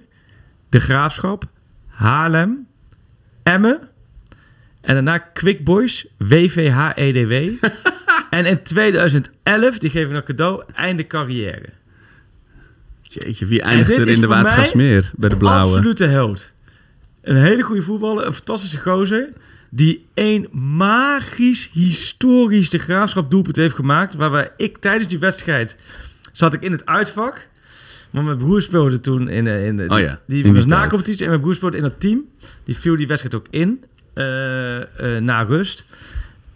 [SPEAKER 9] De Graafschap, Haarlem, Emmen... en daarna Quick Boys, WVHEDW... E en in 2011, die geven we een cadeau, einde carrière.
[SPEAKER 8] Jeetje, wie
[SPEAKER 9] En
[SPEAKER 8] eindigt
[SPEAKER 9] dit
[SPEAKER 8] er
[SPEAKER 9] is
[SPEAKER 8] in de
[SPEAKER 9] voor mij
[SPEAKER 8] Watergasmeer bij de blauwe?
[SPEAKER 9] Absolute held. Een hele goede voetballer, een fantastische gozer. Die een magisch, historisch de graafschap doelpunt heeft gemaakt. Waarbij ik tijdens die wedstrijd zat ik in het uitvak. Want mijn broer speelde toen in, eh, in de-
[SPEAKER 8] Oh ja,
[SPEAKER 9] die,
[SPEAKER 8] in die
[SPEAKER 9] was
[SPEAKER 8] tijd.
[SPEAKER 9] na competitie en mijn broer speelde in dat team. Die viel die wedstrijd ook in eh, eh, na rust.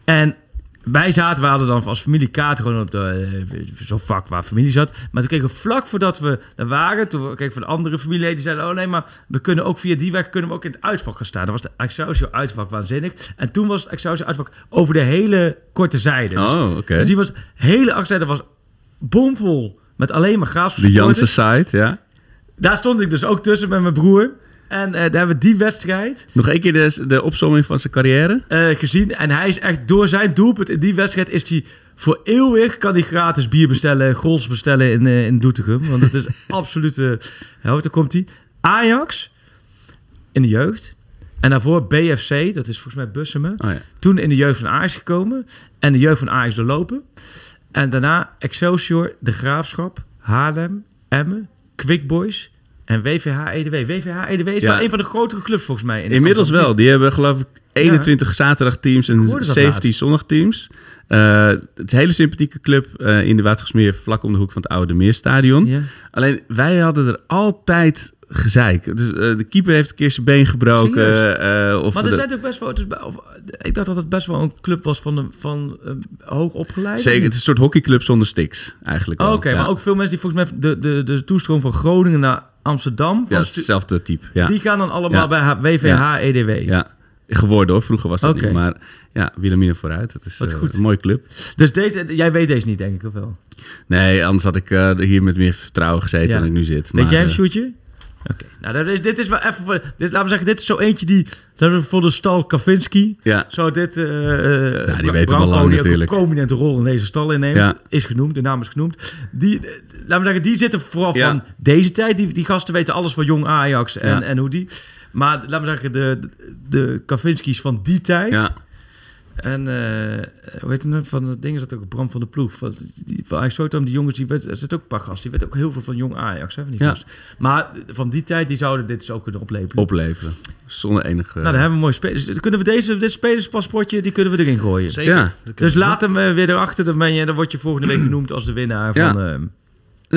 [SPEAKER 9] En wij zaten, we hadden dan als familie kaart gewoon op de, eh, zo'n vak waar familie zat. Maar toen kregen we vlak voordat we daar waren, toen kreeg ik van de andere familieleden, die zeiden, oh nee, maar we kunnen ook via die weg, kunnen we ook in het uitvak gaan staan. Dat was de Excelsior uitvak waanzinnig. En toen was het Excelsior uitvak over de hele korte zijde. Dus-
[SPEAKER 8] Oh, oké.
[SPEAKER 9] Dus die was, hele achterzijde was bomvol met alleen maar graafschap.
[SPEAKER 8] De Jansen site, ja.
[SPEAKER 9] Daar stond ik dus ook tussen met mijn broer. En eh, daar hebben we die wedstrijd
[SPEAKER 8] Nog één keer de, de opzomming van zijn carrière.
[SPEAKER 9] eh, gezien. En hij is echt door zijn doelpunt in die wedstrijd is hij voor eeuwig kan hij gratis bier bestellen, goals bestellen in, eh, in Doetinchem. Want dat is absoluut. eh, held. daar komt hij. Ajax in de jeugd. En daarvoor BFC, dat is volgens mij Bussum.
[SPEAKER 8] Oh,
[SPEAKER 9] Toen in de jeugd van Ajax gekomen. En de jeugd van Ajax doorlopen. En daarna Excelsior, De Graafschap, Haarlem, Emmen, Quick Boys en WVH EDW. WVH EDW E is
[SPEAKER 8] Ja.
[SPEAKER 9] wel een van de grotere clubs volgens mij. in-
[SPEAKER 8] Inmiddels wel. Die hebben geloof ik
[SPEAKER 9] Ja.
[SPEAKER 8] 21 zaterdagteams
[SPEAKER 9] Ik
[SPEAKER 8] en
[SPEAKER 9] hoorde dat
[SPEAKER 8] 17
[SPEAKER 9] laatst.
[SPEAKER 8] zondagteams. Eh, het is een hele sympathieke club eh, in de Watergasmeer, vlak om de hoek van het Oude Meerstadion. Alleen wij hadden er altijd gezeik. Dus, eh, de keeper heeft een keer zijn been gebroken. eh, of
[SPEAKER 9] maar er
[SPEAKER 8] de-
[SPEAKER 9] zijn ook best wel. het is be- of- eh, ik dacht dat het best wel een club was van, de, van eh, hoog opgeleid.
[SPEAKER 8] Zeker, het is een soort hockeyclub zonder sticks eigenlijk.
[SPEAKER 9] Oh, Oké,
[SPEAKER 8] wel. Ja.
[SPEAKER 9] maar ook veel mensen die volgens mij de, de, de toestroom van Groningen naar Amsterdam.
[SPEAKER 8] Ja,
[SPEAKER 9] van stu-
[SPEAKER 8] hetzelfde type. Ja.
[SPEAKER 9] Die gaan dan allemaal bij H- E WVH
[SPEAKER 8] Ja.
[SPEAKER 9] EDW.
[SPEAKER 8] Ja, geworden hoor. Vroeger was dat
[SPEAKER 9] Oké.
[SPEAKER 8] niet. Maar ja, Wilhelmina vooruit. Dat is
[SPEAKER 9] Wat
[SPEAKER 8] eh,
[SPEAKER 9] goed.
[SPEAKER 8] een mooie club.
[SPEAKER 9] Dus deze, jij weet deze niet, denk ik, of wel?
[SPEAKER 8] Nee, anders had ik eh, hier met meer vertrouwen gezeten
[SPEAKER 9] Ja.
[SPEAKER 8] dan ik nu zit.
[SPEAKER 9] Weet
[SPEAKER 8] maar,
[SPEAKER 9] jij hem,
[SPEAKER 8] eh,
[SPEAKER 9] Sjoerdje? Oké. Nou, dat is, dit is wel even... voor- Dit, laten we zeggen, dit is zo eentje die... Dat we voor de stal Kavinsky.
[SPEAKER 8] Ja.
[SPEAKER 9] Zo dit... eh eh,
[SPEAKER 8] Ja, die weten
[SPEAKER 9] Bra-
[SPEAKER 8] we al
[SPEAKER 9] Branco,
[SPEAKER 8] lang
[SPEAKER 9] die ook
[SPEAKER 8] natuurlijk.
[SPEAKER 9] een prominente rol in deze stal inneemt.
[SPEAKER 8] Ja.
[SPEAKER 9] Is genoemd, de naam is genoemd. Die, eh, laten we zeggen, die zitten vooral
[SPEAKER 8] Ja.
[SPEAKER 9] van deze tijd. Die, die gasten weten alles van jong Ajax en,
[SPEAKER 8] Ja.
[SPEAKER 9] en hoe die... Maar laten we zeggen, de, de Kavinskis van die tijd...
[SPEAKER 8] Ja.
[SPEAKER 9] En eh, hoe heet het nou? Van dat ding is dat ook Bram van de Ploeg. Van, die, van Ajax Rotterdam, die jongens, die werd, er zit ook een paar gasten. Die werd ook heel veel van jong Ajax. Hè, van die
[SPEAKER 8] Ja.
[SPEAKER 9] gasten. Maar van die tijd, die zouden dit dus ook kunnen opleveren.
[SPEAKER 8] Opleveren. Zonder enige...
[SPEAKER 9] Nou, dan hebben we mooie spelers. Dus Kunnen we deze, dit spelerspaspoortje, die kunnen we erin gooien.
[SPEAKER 8] Zeker. Ja.
[SPEAKER 9] Dus laat hem eh, weer erachter. Dan, ben je, dan word je volgende week genoemd als de winnaar
[SPEAKER 8] Ja.
[SPEAKER 9] van... eh,
[SPEAKER 8] Dan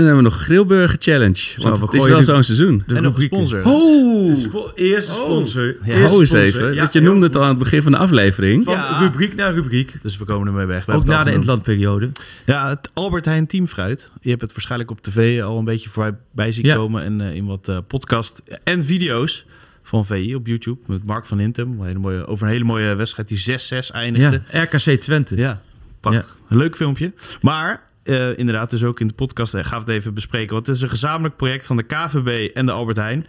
[SPEAKER 8] hebben we nog Grillburger Challenge.
[SPEAKER 9] we
[SPEAKER 8] Want het is
[SPEAKER 9] gooien
[SPEAKER 8] wel
[SPEAKER 9] de-
[SPEAKER 8] zo'n seizoen.
[SPEAKER 9] de En nog een rubrieken. sponsor.
[SPEAKER 8] Oh!
[SPEAKER 9] Spo- eerste sponsor.
[SPEAKER 8] Ja,
[SPEAKER 9] Eerste
[SPEAKER 8] hou eens
[SPEAKER 9] sponsor.
[SPEAKER 8] even.
[SPEAKER 9] Ja,
[SPEAKER 8] want je noemde het al aan het begin van de aflevering.
[SPEAKER 9] Van rubriek naar rubriek.
[SPEAKER 11] Dus we komen ermee weg. We
[SPEAKER 9] Ook
[SPEAKER 11] hebben
[SPEAKER 9] na de
[SPEAKER 11] het al
[SPEAKER 9] inlandperiode.
[SPEAKER 11] genoemd. Ja, het Albert Heijn Teamfruit. Je hebt het waarschijnlijk op tv al een beetje voorbij bij zien
[SPEAKER 9] Ja.
[SPEAKER 11] komen. En eh, in wat eh, podcast en video's van VI op YouTube. Met Mark van Hintem. Een hele mooie, over een hele mooie wedstrijd die 6-6 eindigde.
[SPEAKER 9] Ja, RKC Twente.
[SPEAKER 11] Ja, prachtig. Een leuk filmpje. Maar eh, inderdaad, dus ook in de podcast eh, gaan we het even bespreken. Want het is een gezamenlijk project van de KVB en de Albert Heijn.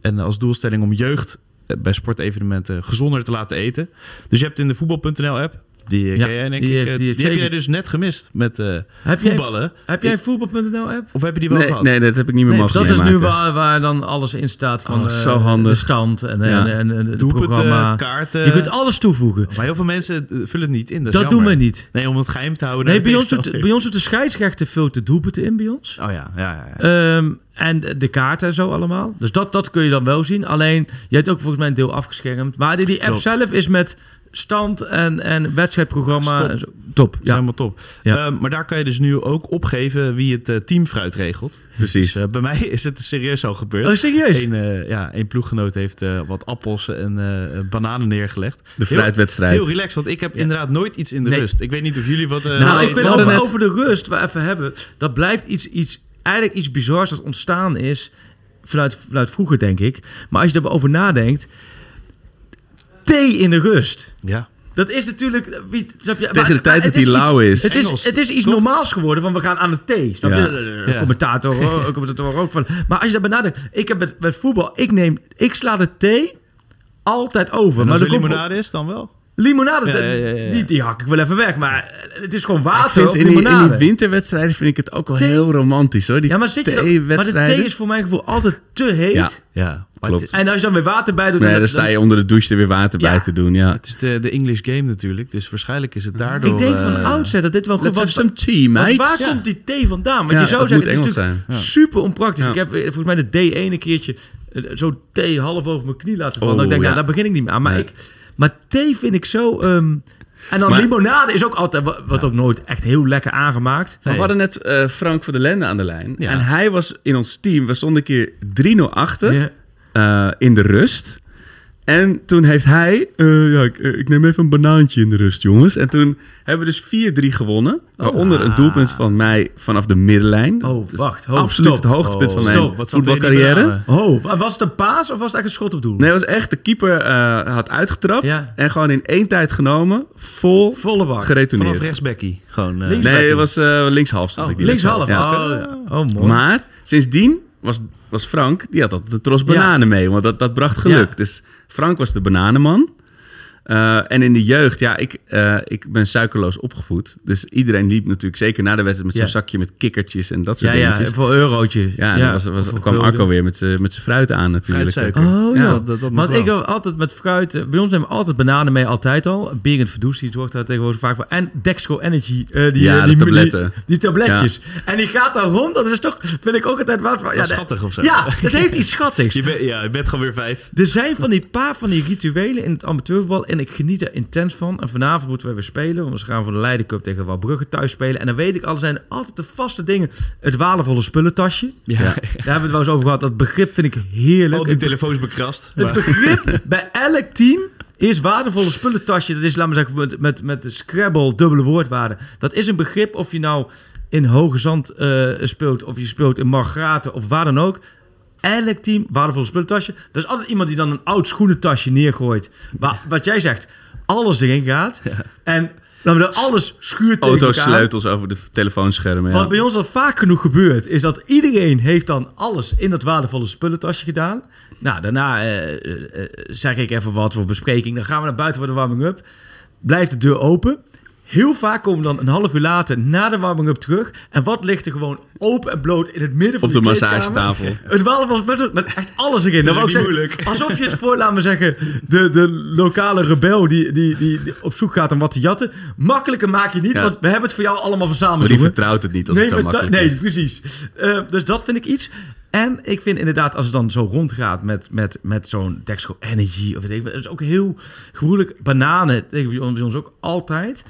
[SPEAKER 11] En als doelstelling om jeugd eh, bij sportevenementen gezonder te laten eten. Dus je hebt in de voetbal.nl-app... Die eh,
[SPEAKER 9] Ja,
[SPEAKER 11] ken jij denk
[SPEAKER 9] die
[SPEAKER 11] ik.
[SPEAKER 9] heb-
[SPEAKER 11] eh,
[SPEAKER 9] die heb
[SPEAKER 11] die heb
[SPEAKER 9] zeker.
[SPEAKER 11] jij dus net gemist met eh,
[SPEAKER 9] Heb jij-
[SPEAKER 11] voetballen.
[SPEAKER 9] Heb jij
[SPEAKER 11] Ik-
[SPEAKER 9] een voetbal.nl-app?
[SPEAKER 11] Of heb je die wel
[SPEAKER 8] Nee,
[SPEAKER 11] gehad?
[SPEAKER 8] nee, dat heb ik niet meer mogen
[SPEAKER 9] dat
[SPEAKER 8] zien
[SPEAKER 9] is nu
[SPEAKER 8] maken.
[SPEAKER 9] waar, waar dan alles in staat van
[SPEAKER 8] Oh,
[SPEAKER 9] eh,
[SPEAKER 8] zo handig.
[SPEAKER 9] de stand en, eh,
[SPEAKER 8] Ja.
[SPEAKER 9] en, en, en het
[SPEAKER 11] Doelpunten,
[SPEAKER 9] programma.
[SPEAKER 11] kaarten.
[SPEAKER 9] Je kunt alles toevoegen.
[SPEAKER 11] Maar heel veel mensen eh, vullen het niet in. Dat, is
[SPEAKER 9] Dat doen
[SPEAKER 11] jammer.
[SPEAKER 9] we niet.
[SPEAKER 11] Nee, om het geheim te houden.
[SPEAKER 9] Nee,
[SPEAKER 11] naar de
[SPEAKER 9] bij ons, doet,
[SPEAKER 11] tegenstander.
[SPEAKER 9] bij ons doet de scheidsrechter vult de doelpunten in bij ons.
[SPEAKER 11] Oh ja, ja, ja. ja.
[SPEAKER 9] Ehm, en de kaarten en zo allemaal. Dus dat, dat kun je dan wel zien. Alleen, je hebt ook volgens mij een deel afgeschermd. Maar die, die app
[SPEAKER 11] Klopt.
[SPEAKER 9] zelf is met stand en, en wedstrijdprogramma.
[SPEAKER 11] Stop.
[SPEAKER 9] en zo. Top.
[SPEAKER 11] Ja.
[SPEAKER 9] Ja.
[SPEAKER 11] Helemaal top.
[SPEAKER 9] Ja.
[SPEAKER 11] Eh, maar daar kan je dus nu ook opgeven wie het eh, team fruit regelt.
[SPEAKER 8] Precies.
[SPEAKER 11] Dus, eh, bij mij is het serieus al gebeurd.
[SPEAKER 9] Oh, serieus?
[SPEAKER 11] Een, eh, ja, een ploeggenoot heeft eh, wat appels en eh, bananen neergelegd.
[SPEAKER 8] De
[SPEAKER 11] Heel-
[SPEAKER 8] fruitwedstrijd.
[SPEAKER 11] Heel, relaxed, want ik heb inderdaad nooit iets in de
[SPEAKER 9] Nee.
[SPEAKER 11] rust. Ik weet niet of jullie wat... eh,
[SPEAKER 9] Nou,
[SPEAKER 11] wat-
[SPEAKER 9] ik vind
[SPEAKER 8] we hadden
[SPEAKER 9] over,
[SPEAKER 8] net-
[SPEAKER 9] over de rust, we even hebben. Dat blijft iets, iets, eigenlijk iets bizars dat ontstaan is. Vanuit, vanuit vroeger, denk ik. Maar als je daarover nadenkt. Thee in de rust.
[SPEAKER 11] Ja.
[SPEAKER 9] Dat is natuurlijk. Wie, snap je?
[SPEAKER 8] de tijd
[SPEAKER 9] het
[SPEAKER 8] dat die
[SPEAKER 9] iets-
[SPEAKER 8] lauw is.
[SPEAKER 9] Het
[SPEAKER 11] Engels,
[SPEAKER 9] is, het is iets
[SPEAKER 11] toch?
[SPEAKER 9] normaals geworden, want we gaan aan de thee. Snap
[SPEAKER 8] Ja.
[SPEAKER 9] je? De- de- de
[SPEAKER 11] Ja.
[SPEAKER 9] Commentator, hoor, de commentator ook van. Maar als je daarbij nadenkt. Ik heb met, met voetbal. Ik, neem, ik sla de thee altijd over.
[SPEAKER 11] En
[SPEAKER 9] maar
[SPEAKER 11] als
[SPEAKER 9] er
[SPEAKER 11] er
[SPEAKER 9] komt voor-
[SPEAKER 11] limonade is, dan wel.
[SPEAKER 9] Limonade,
[SPEAKER 11] Ja,
[SPEAKER 9] dat-
[SPEAKER 11] ja, ja, ja.
[SPEAKER 9] Die, die hak ik wel even weg. Maar het is gewoon
[SPEAKER 8] Ik
[SPEAKER 9] water
[SPEAKER 8] vind
[SPEAKER 9] op
[SPEAKER 8] in, die, in
[SPEAKER 9] limonade.
[SPEAKER 8] die winterwedstrijden vind ik het ook wel
[SPEAKER 9] Thee.
[SPEAKER 8] heel romantisch hoor. Die
[SPEAKER 9] ja, maar, zit je dan- maar de
[SPEAKER 8] thee-wedstrijden.
[SPEAKER 9] thee is voor mijn gevoel altijd te heet.
[SPEAKER 8] Ja,
[SPEAKER 11] Ja, maar
[SPEAKER 8] klopt.
[SPEAKER 11] Het,
[SPEAKER 9] En als je dan weer water bij doet...
[SPEAKER 8] Nee, dan sta je onder de douche er weer water
[SPEAKER 9] Ja.
[SPEAKER 8] bij te doen. Ja.
[SPEAKER 11] het is de, de English game natuurlijk, dus waarschijnlijk is het daardoor...
[SPEAKER 9] Ik denk van
[SPEAKER 11] eh,
[SPEAKER 9] oudsher dat dit wel goed
[SPEAKER 8] Let's have
[SPEAKER 9] was.
[SPEAKER 8] some tea, mate.
[SPEAKER 9] Want waar
[SPEAKER 8] Ja.
[SPEAKER 9] komt die thee vandaan? Want
[SPEAKER 8] Ja,
[SPEAKER 9] je zou
[SPEAKER 8] dat
[SPEAKER 9] zeggen,
[SPEAKER 8] moet
[SPEAKER 9] het is
[SPEAKER 8] Engels
[SPEAKER 9] natuurlijk super onpraktisch.
[SPEAKER 8] Ja.
[SPEAKER 9] Ik heb eh, volgens mij de D1 een keertje eh, zo'n thee half over mijn knie laten vallen.
[SPEAKER 8] Oh,
[SPEAKER 9] Dan denk ik,
[SPEAKER 8] ja.
[SPEAKER 9] nou, daar begin ik niet meer aan. Maar,
[SPEAKER 8] Nee.
[SPEAKER 9] ik, maar thee vind ik zo... ehm, en dan
[SPEAKER 8] Maar-
[SPEAKER 9] limonade is ook altijd, wa- wat ook nooit echt heel lekker aangemaakt.
[SPEAKER 8] Maar we hadden net eh, Frank van der Lende aan de lijn.
[SPEAKER 11] Ja.
[SPEAKER 8] En hij was in ons team. We stonden een keer 3-0 achter.
[SPEAKER 9] Ja.
[SPEAKER 8] eh, in de rust. En toen heeft hij... eh, ja, ik, eh, ik neem even een banaantje in de rust, jongens. En toen hebben we dus 4-3 gewonnen. Waaronder een doelpunt van mij vanaf de middenlijn.
[SPEAKER 9] Ah. Oh,
[SPEAKER 8] Dat is
[SPEAKER 9] wacht, ho,
[SPEAKER 8] absoluut
[SPEAKER 9] stop.
[SPEAKER 8] het hoogtepunt
[SPEAKER 9] Oh,
[SPEAKER 8] van mijn
[SPEAKER 9] stop,
[SPEAKER 11] wat zat er in die
[SPEAKER 8] voetbalcarrière.
[SPEAKER 11] bananen?
[SPEAKER 9] Oh, wa- was het een paas of was het echt een schot op doel?
[SPEAKER 8] Nee, het was echt... De keeper eh, had uitgetrapt.
[SPEAKER 9] Ja.
[SPEAKER 8] En gewoon in één tijd genomen. Vol
[SPEAKER 9] Volle bak.
[SPEAKER 11] Vanaf
[SPEAKER 8] geretourneerd.
[SPEAKER 11] rechtsbekkie, gewoon... eh, Oh,
[SPEAKER 9] Links-
[SPEAKER 8] Nee, het was eh linkshalf. stond ik die
[SPEAKER 9] Oh, Linkshalf.
[SPEAKER 8] wedstrijd. Ja.
[SPEAKER 9] Oh, oh, mooi.
[SPEAKER 8] Maar sindsdien was, was Frank, die had altijd de tros bananen mee, want dat, dat bracht geluk.
[SPEAKER 9] Ja.
[SPEAKER 8] Dus Frank was de bananenman. Eh, en in de jeugd, ja, ik, eh, ik ben suikerloos opgevoed. Dus iedereen liep natuurlijk, zeker na de wedstrijd, met zo'n
[SPEAKER 9] Ja.
[SPEAKER 8] zakje met kikkertjes en dat soort
[SPEAKER 9] Ja, ja,
[SPEAKER 8] dingetjes.
[SPEAKER 9] voor eurotje.
[SPEAKER 8] Ja, en
[SPEAKER 9] Ja,
[SPEAKER 8] dan was, was,
[SPEAKER 9] voor
[SPEAKER 8] kwam
[SPEAKER 9] gulden.
[SPEAKER 8] Arco weer met zijn met z'n fruit aan natuurlijk.
[SPEAKER 9] Oh ja,
[SPEAKER 8] dat,
[SPEAKER 9] want ik heb altijd met fruit... eh, Bij ons nemen we altijd bananen mee, altijd al. Berend Verdoestie zorgt daar tegenwoordig vaak voor. En Dexco Energy. eh, die,
[SPEAKER 8] Ja,
[SPEAKER 9] eh,
[SPEAKER 8] de
[SPEAKER 9] die,
[SPEAKER 8] tabletten.
[SPEAKER 9] Die, die tabletjes. En die gaat daar rond. Dat is toch, vind ik ook altijd wat...
[SPEAKER 11] Wel
[SPEAKER 9] ja, de-
[SPEAKER 11] schattig of zo.
[SPEAKER 9] Ja, dat heeft iets schattigs.
[SPEAKER 11] Je bent- ja, je bent gewoon weer vijf.
[SPEAKER 9] Er zijn van die paar van die rituelen in het amateurvoetbal. En ik geniet er intens van. En vanavond moeten we weer spelen. Want we gaan voor de Leiden Cup tegen Waalbrugge thuis spelen. En dan weet ik al, er zijn altijd de vaste dingen. Het waardevolle spullentasje.
[SPEAKER 11] Ja.
[SPEAKER 9] Daar hebben we het wel eens over gehad. Dat begrip vind ik heerlijk.
[SPEAKER 11] Al die
[SPEAKER 9] Het-
[SPEAKER 11] telefoons bekrast.
[SPEAKER 9] het begrip bij elk team is waardevolle spullentasje. Dat is, laat maar zeggen, met, met, met de Scrabble dubbele woordwaarde. Dat is een begrip of je nou in Hoge Zand eh, speelt... of je speelt in Margraten of waar dan ook. Elk team, waardevolle spullentasje. Er is altijd iemand die dan een oud schoenentasje neergooit. Waar, wat jij zegt, alles erin gaat. En dan dat alles schuurt tegen
[SPEAKER 8] Auto's,
[SPEAKER 9] elkaar.
[SPEAKER 8] sleutels over de telefoonschermen. Ja.
[SPEAKER 9] Wat bij ons al vaak genoeg gebeurt, is dat iedereen heeft dan alles in dat waardevolle spullentasje gedaan. Nou, daarna eh, eh, eh, zeg ik even wat voor bespreking. Dan gaan we naar buiten voor de warming-up. Blijft de deur open. Heel vaak komen we dan een half uur later na de warming-up terug. En wat ligt er gewoon open en bloot in het midden van
[SPEAKER 8] Op de
[SPEAKER 9] die kleedkamer?
[SPEAKER 8] massagetafel.
[SPEAKER 9] Het waardevolle spullen met echt alles erin.
[SPEAKER 8] Dat is
[SPEAKER 9] wou
[SPEAKER 8] ook
[SPEAKER 9] ik
[SPEAKER 8] niet
[SPEAKER 9] zeggen, Alsof je het voor, laten we zeggen, de, de lokale rebel die, die, die, die op zoek gaat om wat te jatten. Makkelijker maak je niet,
[SPEAKER 8] Ja.
[SPEAKER 9] want we hebben het voor jou allemaal verzameld.
[SPEAKER 8] Maar die
[SPEAKER 9] jongen
[SPEAKER 8] vertrouwt het niet als
[SPEAKER 9] nee,
[SPEAKER 8] het zo
[SPEAKER 9] maar da-
[SPEAKER 8] makkelijk
[SPEAKER 11] dus.
[SPEAKER 9] Nee,
[SPEAKER 8] is.
[SPEAKER 9] precies. Eh, dus dat vind ik iets. En ik vind inderdaad, als het dan zo rondgaat met, met, met zo'n Dexco Energy of weet ik wat, het is ook heel gevoelig. Bananen tegen bij ons- bij ons ook altijd.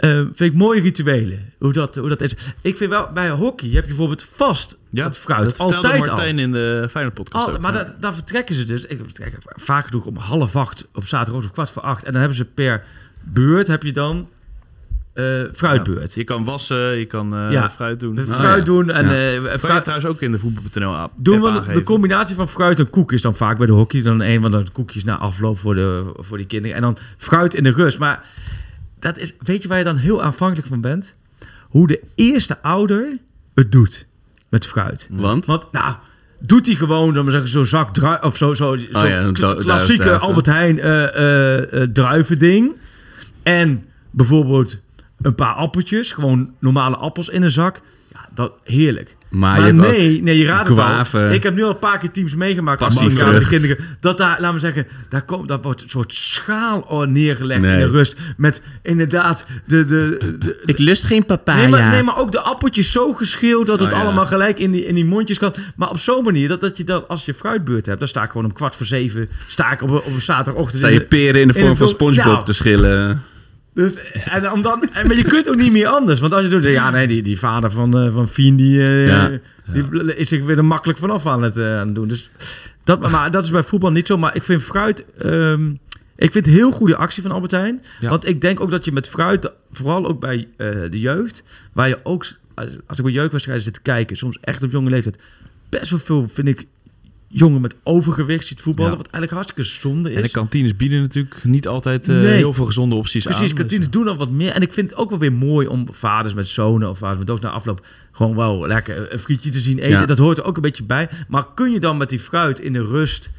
[SPEAKER 9] Eh, vind ik mooie rituelen, hoe dat, hoe dat is. Ik vind wel, bij hockey heb je bijvoorbeeld vast ja, dat fruit.
[SPEAKER 11] dat vertelde
[SPEAKER 9] altijd al.
[SPEAKER 11] Martijn in de Feyenoord podcast
[SPEAKER 9] Al-
[SPEAKER 11] ook.
[SPEAKER 9] maar
[SPEAKER 11] Ja.
[SPEAKER 9] daar, daar vertrekken ze dus. Ik vertrek vaak genoeg om half acht op zaterdag of kwart voor acht. En dan hebben ze per beurt heb je dan eh fruitbeurt.
[SPEAKER 11] Je kan wassen, je kan eh,
[SPEAKER 9] Ja.
[SPEAKER 11] fruit doen.
[SPEAKER 9] Fruit Nou ja. doen en, eh,
[SPEAKER 11] Kan je
[SPEAKER 9] fruit-
[SPEAKER 11] trouwens ook in de voetbal.nl app
[SPEAKER 9] Doen we
[SPEAKER 11] aangeven.
[SPEAKER 9] de combinatie van fruit en koek is dan vaak bij de hockey dan een van de koekjes na afloop voor, de, voor die kinderen. En dan fruit in de rust. Maar dat is, weet je waar je dan heel aanvankelijk van bent? Hoe de eerste ouder het doet met fruit.
[SPEAKER 8] Want?
[SPEAKER 9] Want nou, doet hij gewoon, dan maar zeggen, zo'n zak druif of zo, zo, zo'n
[SPEAKER 8] Oh ja, een du-
[SPEAKER 9] klassieke
[SPEAKER 8] druifduiven.
[SPEAKER 9] Albert Heijn eh eh, eh, druivending. En bijvoorbeeld een paar appeltjes, gewoon normale appels in een zak. Ja, dat heerlijk.
[SPEAKER 8] Maar je hebt
[SPEAKER 9] nee,
[SPEAKER 8] ook
[SPEAKER 9] nee, je raadt het
[SPEAKER 8] guave.
[SPEAKER 9] al. Ik heb nu al een paar keer teams meegemaakt met
[SPEAKER 8] Passievrucht.
[SPEAKER 9] Marokkaanse kinderen. Dat daar, laten we zeggen, daar, komt, daar wordt een soort schaal neergelegd in
[SPEAKER 8] Nee.
[SPEAKER 9] de rust. Met inderdaad de... de, de
[SPEAKER 8] Ik lust geen papaya.
[SPEAKER 9] Nee maar, nee, maar ook de appeltjes zo geschild dat
[SPEAKER 8] Oh,
[SPEAKER 9] het
[SPEAKER 8] ja.
[SPEAKER 9] allemaal gelijk in die, in die mondjes kan. Maar op zo'n manier dat, dat je dat als je fruitbeurt hebt, dan sta ik gewoon om kwart voor zeven, sta ik op, een- op een zaterdagochtend.
[SPEAKER 8] Sta je
[SPEAKER 9] de-
[SPEAKER 8] peren in de vorm
[SPEAKER 9] een
[SPEAKER 8] van
[SPEAKER 9] dom-
[SPEAKER 8] Spongebob
[SPEAKER 9] Nou,
[SPEAKER 8] te schillen.
[SPEAKER 9] dus, en dan, dan, en- maar je kunt ook niet meer anders. Want als je doet, ja, nee, die, die vader van, eh, van Fien, die, eh,
[SPEAKER 8] Ja,
[SPEAKER 9] die bl- is zich weer er makkelijk vanaf aan het, eh, aan het doen. Dus dat, maar- maar dat is bij voetbal niet zo. Maar ik vind fruit. ehm, ik vind heel goede actie van Albert Heijn.
[SPEAKER 11] Ja.
[SPEAKER 9] Want ik denk ook dat je met fruit, vooral ook bij eh, de jeugd, waar je ook, als, als ik bij jeugdwedstrijden zit te kijken, soms echt op jonge leeftijd, best wel veel, vind ik, jongen met overgewicht ziet voetballen.
[SPEAKER 11] Ja.
[SPEAKER 9] Wat eigenlijk hartstikke zonde is.
[SPEAKER 11] En de kantines bieden natuurlijk niet altijd eh,
[SPEAKER 9] Nee.
[SPEAKER 11] heel veel gezonde opties
[SPEAKER 9] Precies,
[SPEAKER 11] aan. dus,
[SPEAKER 9] kantines doen al wat meer. En ik vind het ook wel weer mooi om vaders met zonen of vaders met dochter na afloop gewoon wel lekker een frietje te zien eten.
[SPEAKER 11] Ja.
[SPEAKER 9] Dat hoort er ook een beetje bij. Maar kun je dan met die fruit in de rust...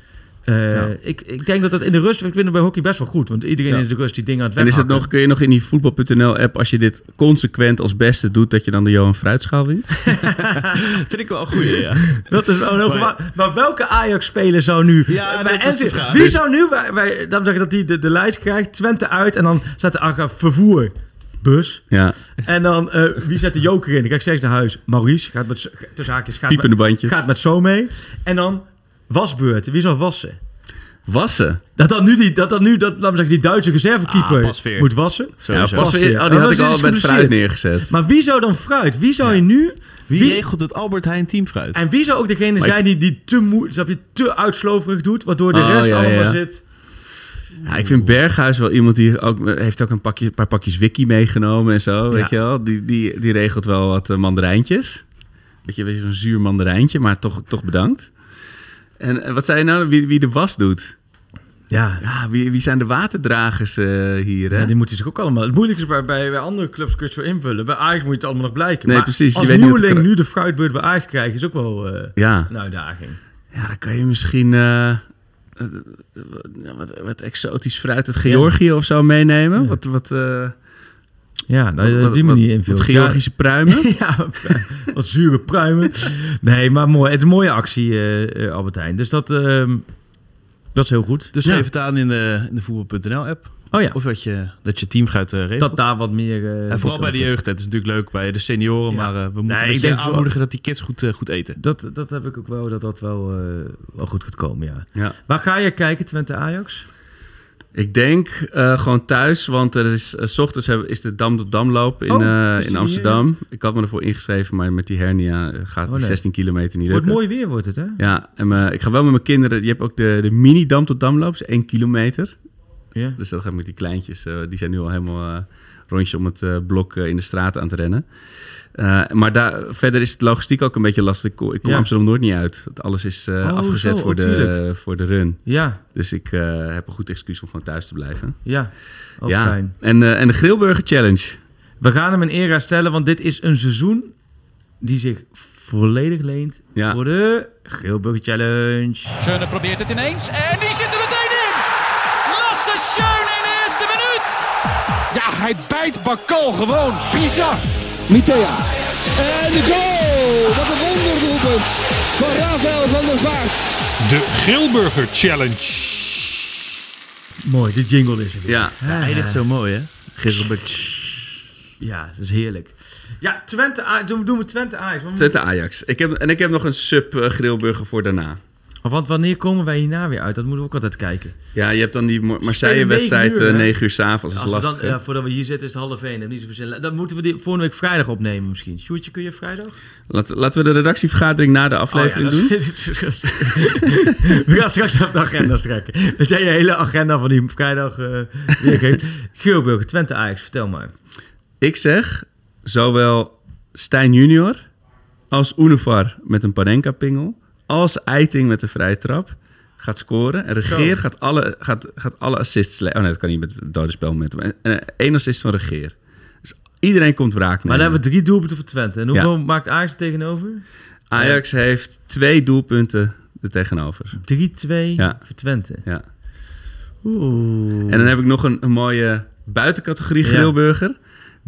[SPEAKER 9] eh,
[SPEAKER 8] Ja.
[SPEAKER 9] ik, ik denk dat dat in de rust... Ik vind het bij hockey best wel goed. Want iedereen
[SPEAKER 8] Ja.
[SPEAKER 9] in de rust die dingen aan het
[SPEAKER 8] En is het
[SPEAKER 9] weghakken.
[SPEAKER 8] nog, kun je nog in die voetbal.nl-app, als je dit consequent als beste doet, dat je dan de Johan Fruitschaal wint?
[SPEAKER 11] eh, Vind ik wel een goede, ja.
[SPEAKER 9] Dat is wel een hoge-
[SPEAKER 11] Maar-
[SPEAKER 9] maar, Nou, maar welke Ajax-speler zou nu...
[SPEAKER 11] Ja,
[SPEAKER 9] bij
[SPEAKER 11] dat is de
[SPEAKER 9] NC
[SPEAKER 11] vraag.
[SPEAKER 9] Wie
[SPEAKER 11] Dus-
[SPEAKER 9] zou nu... Bij, bij, dan zeg ik dat die de, de lijst krijgt. Twente uit en dan staat er aan vervoer. Bus.
[SPEAKER 8] Ja.
[SPEAKER 9] En dan, eh, wie zet de joker in? Ik kijk steeds naar huis. Maurice gaat met, tussen haakjes, gaat
[SPEAKER 8] Piepende
[SPEAKER 9] met,
[SPEAKER 8] bandjes.
[SPEAKER 9] gaat met zo mee. En dan wasbeurt. Wie zal wassen?
[SPEAKER 8] Wassen.
[SPEAKER 9] Dat dan nu die, dat dan nu, dat, laat maar zeggen, die Duitse
[SPEAKER 8] Ah,
[SPEAKER 9] reservekeeper
[SPEAKER 8] Pasveer.
[SPEAKER 9] moet wassen.
[SPEAKER 8] Ja, pas weer. Oh, die
[SPEAKER 9] Dan
[SPEAKER 8] had ik
[SPEAKER 9] is hij
[SPEAKER 8] al met
[SPEAKER 9] geblesseerd.
[SPEAKER 8] fruit neergezet.
[SPEAKER 9] Maar wie zou dan fruit? Wie zou je nu...
[SPEAKER 11] Wie, regelt het Albert Heijn teamfruit?
[SPEAKER 9] En wie zou ook degene
[SPEAKER 11] Maar
[SPEAKER 9] zijn
[SPEAKER 11] ik-
[SPEAKER 9] die, die te, moe, snap je, te uitsloverig doet, waardoor de
[SPEAKER 8] Oh,
[SPEAKER 9] rest
[SPEAKER 8] ja,
[SPEAKER 9] allemaal
[SPEAKER 8] ja.
[SPEAKER 9] zit...
[SPEAKER 8] Ja, ik vind Berghuis wel iemand die ook, heeft ook een pakje, paar pakjes wiki meegenomen en zo, weet je wel. Die, die, die regelt wel wat eh, mandarijntjes. Weet je, weet je, zo'n zuur mandarijntje, maar toch, toch bedankt. En eh, wat zei je nou, wie, wie de was doet?
[SPEAKER 9] Ja.
[SPEAKER 8] ja wie, wie zijn de waterdragers eh, hier? Hè?
[SPEAKER 9] Ja, die moeten zich ook allemaal. Het moeilijke is bij, bij, bij andere clubs kun je het zo invullen. Bij Ajax moet je het allemaal nog blijken.
[SPEAKER 8] Nee,
[SPEAKER 9] maar
[SPEAKER 8] precies, je
[SPEAKER 9] Als
[SPEAKER 8] weet niet wat de
[SPEAKER 9] nieuweling
[SPEAKER 8] kra-
[SPEAKER 9] nu de fruitbeurt bij Ajax krijgen is ook wel eh,
[SPEAKER 8] Ja.
[SPEAKER 9] een uitdaging.
[SPEAKER 8] Ja, dan kan je misschien eh, eh, wat, wat exotisch fruit uit Georgië of zo meenemen. Wat, wat, eh,
[SPEAKER 9] Ja, dat
[SPEAKER 8] Wat-
[SPEAKER 9] je op die
[SPEAKER 8] wat-
[SPEAKER 9] manier
[SPEAKER 8] wat
[SPEAKER 9] invult.
[SPEAKER 8] Georgische pruimen?
[SPEAKER 9] ja, wat zure pruimen. Nee, maar mooi. Het is een mooie actie, eh eh, Albert Heijn. Dus dat, ehm, dat is heel goed.
[SPEAKER 11] Dus
[SPEAKER 9] Ja.
[SPEAKER 11] geef het aan in de, in de voetbal.nl-app.
[SPEAKER 9] Oh ja.
[SPEAKER 11] Of dat je, dat je team gaat eh, regelen.
[SPEAKER 9] dat daar wat meer... eh,
[SPEAKER 11] en vooral bij de
[SPEAKER 9] wordt.
[SPEAKER 11] jeugd. hè. Het is natuurlijk leuk bij de senioren.
[SPEAKER 9] Ja.
[SPEAKER 11] Maar eh, we
[SPEAKER 9] Nee,
[SPEAKER 11] moeten
[SPEAKER 9] ik
[SPEAKER 11] een beetje
[SPEAKER 9] denk vooral-
[SPEAKER 11] aanmoedigen dat die kids goed, eh, goed eten.
[SPEAKER 9] Dat, dat heb ik ook wel, dat dat wel, eh, wel goed gaat komen, ja.
[SPEAKER 8] Ja.
[SPEAKER 9] Waar ga je kijken, Twente Ajax?
[SPEAKER 8] Ik denk eh, gewoon thuis, want er is, eh, s ochtends hebben, is de Dam tot Damloop in,
[SPEAKER 9] Oh,
[SPEAKER 8] eh,
[SPEAKER 9] dus
[SPEAKER 8] in
[SPEAKER 9] die,
[SPEAKER 8] Amsterdam. Ik had me ervoor ingeschreven, maar met die hernia eh, gaat
[SPEAKER 9] Oh,
[SPEAKER 8] die
[SPEAKER 9] nee.
[SPEAKER 8] 16 kilometer niet
[SPEAKER 9] Wordt
[SPEAKER 8] lukken.
[SPEAKER 9] mooi weer, wordt het, hè?
[SPEAKER 8] Ja, en eh, ik ga wel met mijn kinderen. Je hebt ook de, de mini Dam tot Damloop, is 1 kilometer.
[SPEAKER 9] Ja.
[SPEAKER 8] Dus dat gaat met die kleintjes. eh, die zijn nu al helemaal eh rondjes om het eh, blok eh, in de straat aan te rennen. Eh, maar daar, verder is het logistiek ook een beetje lastig. Ik kom, ik kom
[SPEAKER 9] Ja.
[SPEAKER 8] Amsterdam Noord niet uit. Want Alles is eh,
[SPEAKER 9] Oh,
[SPEAKER 8] afgezet
[SPEAKER 9] zo,
[SPEAKER 8] voor,
[SPEAKER 9] oh,
[SPEAKER 8] de,
[SPEAKER 9] tuurlijk.
[SPEAKER 8] voor de run.
[SPEAKER 9] Ja.
[SPEAKER 8] Dus ik eh, heb een goed excuus om gewoon thuis te blijven.
[SPEAKER 9] Ja, ook
[SPEAKER 8] ja.
[SPEAKER 9] fijn.
[SPEAKER 8] En, eh, en de Grillburger Challenge.
[SPEAKER 9] We gaan hem in era stellen, want dit is een seizoen die zich volledig leent
[SPEAKER 8] Ja.
[SPEAKER 9] voor de Geelburger Challenge.
[SPEAKER 12] Schöne probeert het ineens en die zit er meteen in. Lasse Schöne in de eerste minuut.
[SPEAKER 4] Ja, hij bijt Bakal gewoon. Bizar. Mitea. En de goal. Wat een wonderdoelpunt van Rafael van der Vaart.
[SPEAKER 13] De Grilburger Challenge.
[SPEAKER 9] Mooi, de jingle is er weer.
[SPEAKER 8] Ja,
[SPEAKER 9] Ah.
[SPEAKER 11] eindigt zo mooi, hè?
[SPEAKER 9] Ja, dat is heerlijk. Ja, Twente Ajax. Doen we- doen we Twente Ajax. want-
[SPEAKER 8] Twente Ajax. Ik heb, en ik heb nog een sub eh, Grillburger voor daarna.
[SPEAKER 9] Want wanneer komen wij hierna weer uit? Dat moeten we ook altijd kijken.
[SPEAKER 8] Ja, je hebt dan die Mar- Marseille-wedstrijd
[SPEAKER 9] Spelen
[SPEAKER 8] eh,
[SPEAKER 9] negen uur, hè?
[SPEAKER 8] 9 uur s'avonds. Dat is
[SPEAKER 9] Als we dan-
[SPEAKER 8] lastig. hè?
[SPEAKER 9] ja, voordat we hier zitten is het half één. Dat niet zoveel zin. Dan moeten we die volgende week vrijdag opnemen misschien. Sjoerdje, kun je vrijdag?
[SPEAKER 8] Laten, laten we de redactievergadering na de aflevering
[SPEAKER 9] Oh ja,
[SPEAKER 8] doen.
[SPEAKER 9] dat is- dat is- we gaan straks even de agenda strekken. Dat jij je hele agenda van die vrijdag eh weergeeft. Geelburger, Twente Ajax, vertel maar.
[SPEAKER 8] Ik zeg zowel Stijn junior als Unifar met een Panenka-pingel... als Eiting met een vrije trap gaat scoren. En Regeer
[SPEAKER 9] Zo.
[SPEAKER 8] gaat alle, gaat, gaat alle assists... le- Oh nee, dat kan niet met het dode spel. Met hem. En, eh, één assist van Regeer. Dus iedereen komt wraak nemen.
[SPEAKER 9] Maar dan hebben we drie doelpunten voor Twente. En hoeveel
[SPEAKER 8] Ja.
[SPEAKER 9] maakt Ajax er tegenover?
[SPEAKER 8] Ajax heeft twee doelpunten er tegenover.
[SPEAKER 9] 3-2
[SPEAKER 8] Ja.
[SPEAKER 9] voor Twente.
[SPEAKER 8] Ja.
[SPEAKER 9] Oeh.
[SPEAKER 8] En dan heb ik nog een, een mooie buitencategorie
[SPEAKER 9] Ja.
[SPEAKER 8] grillburger.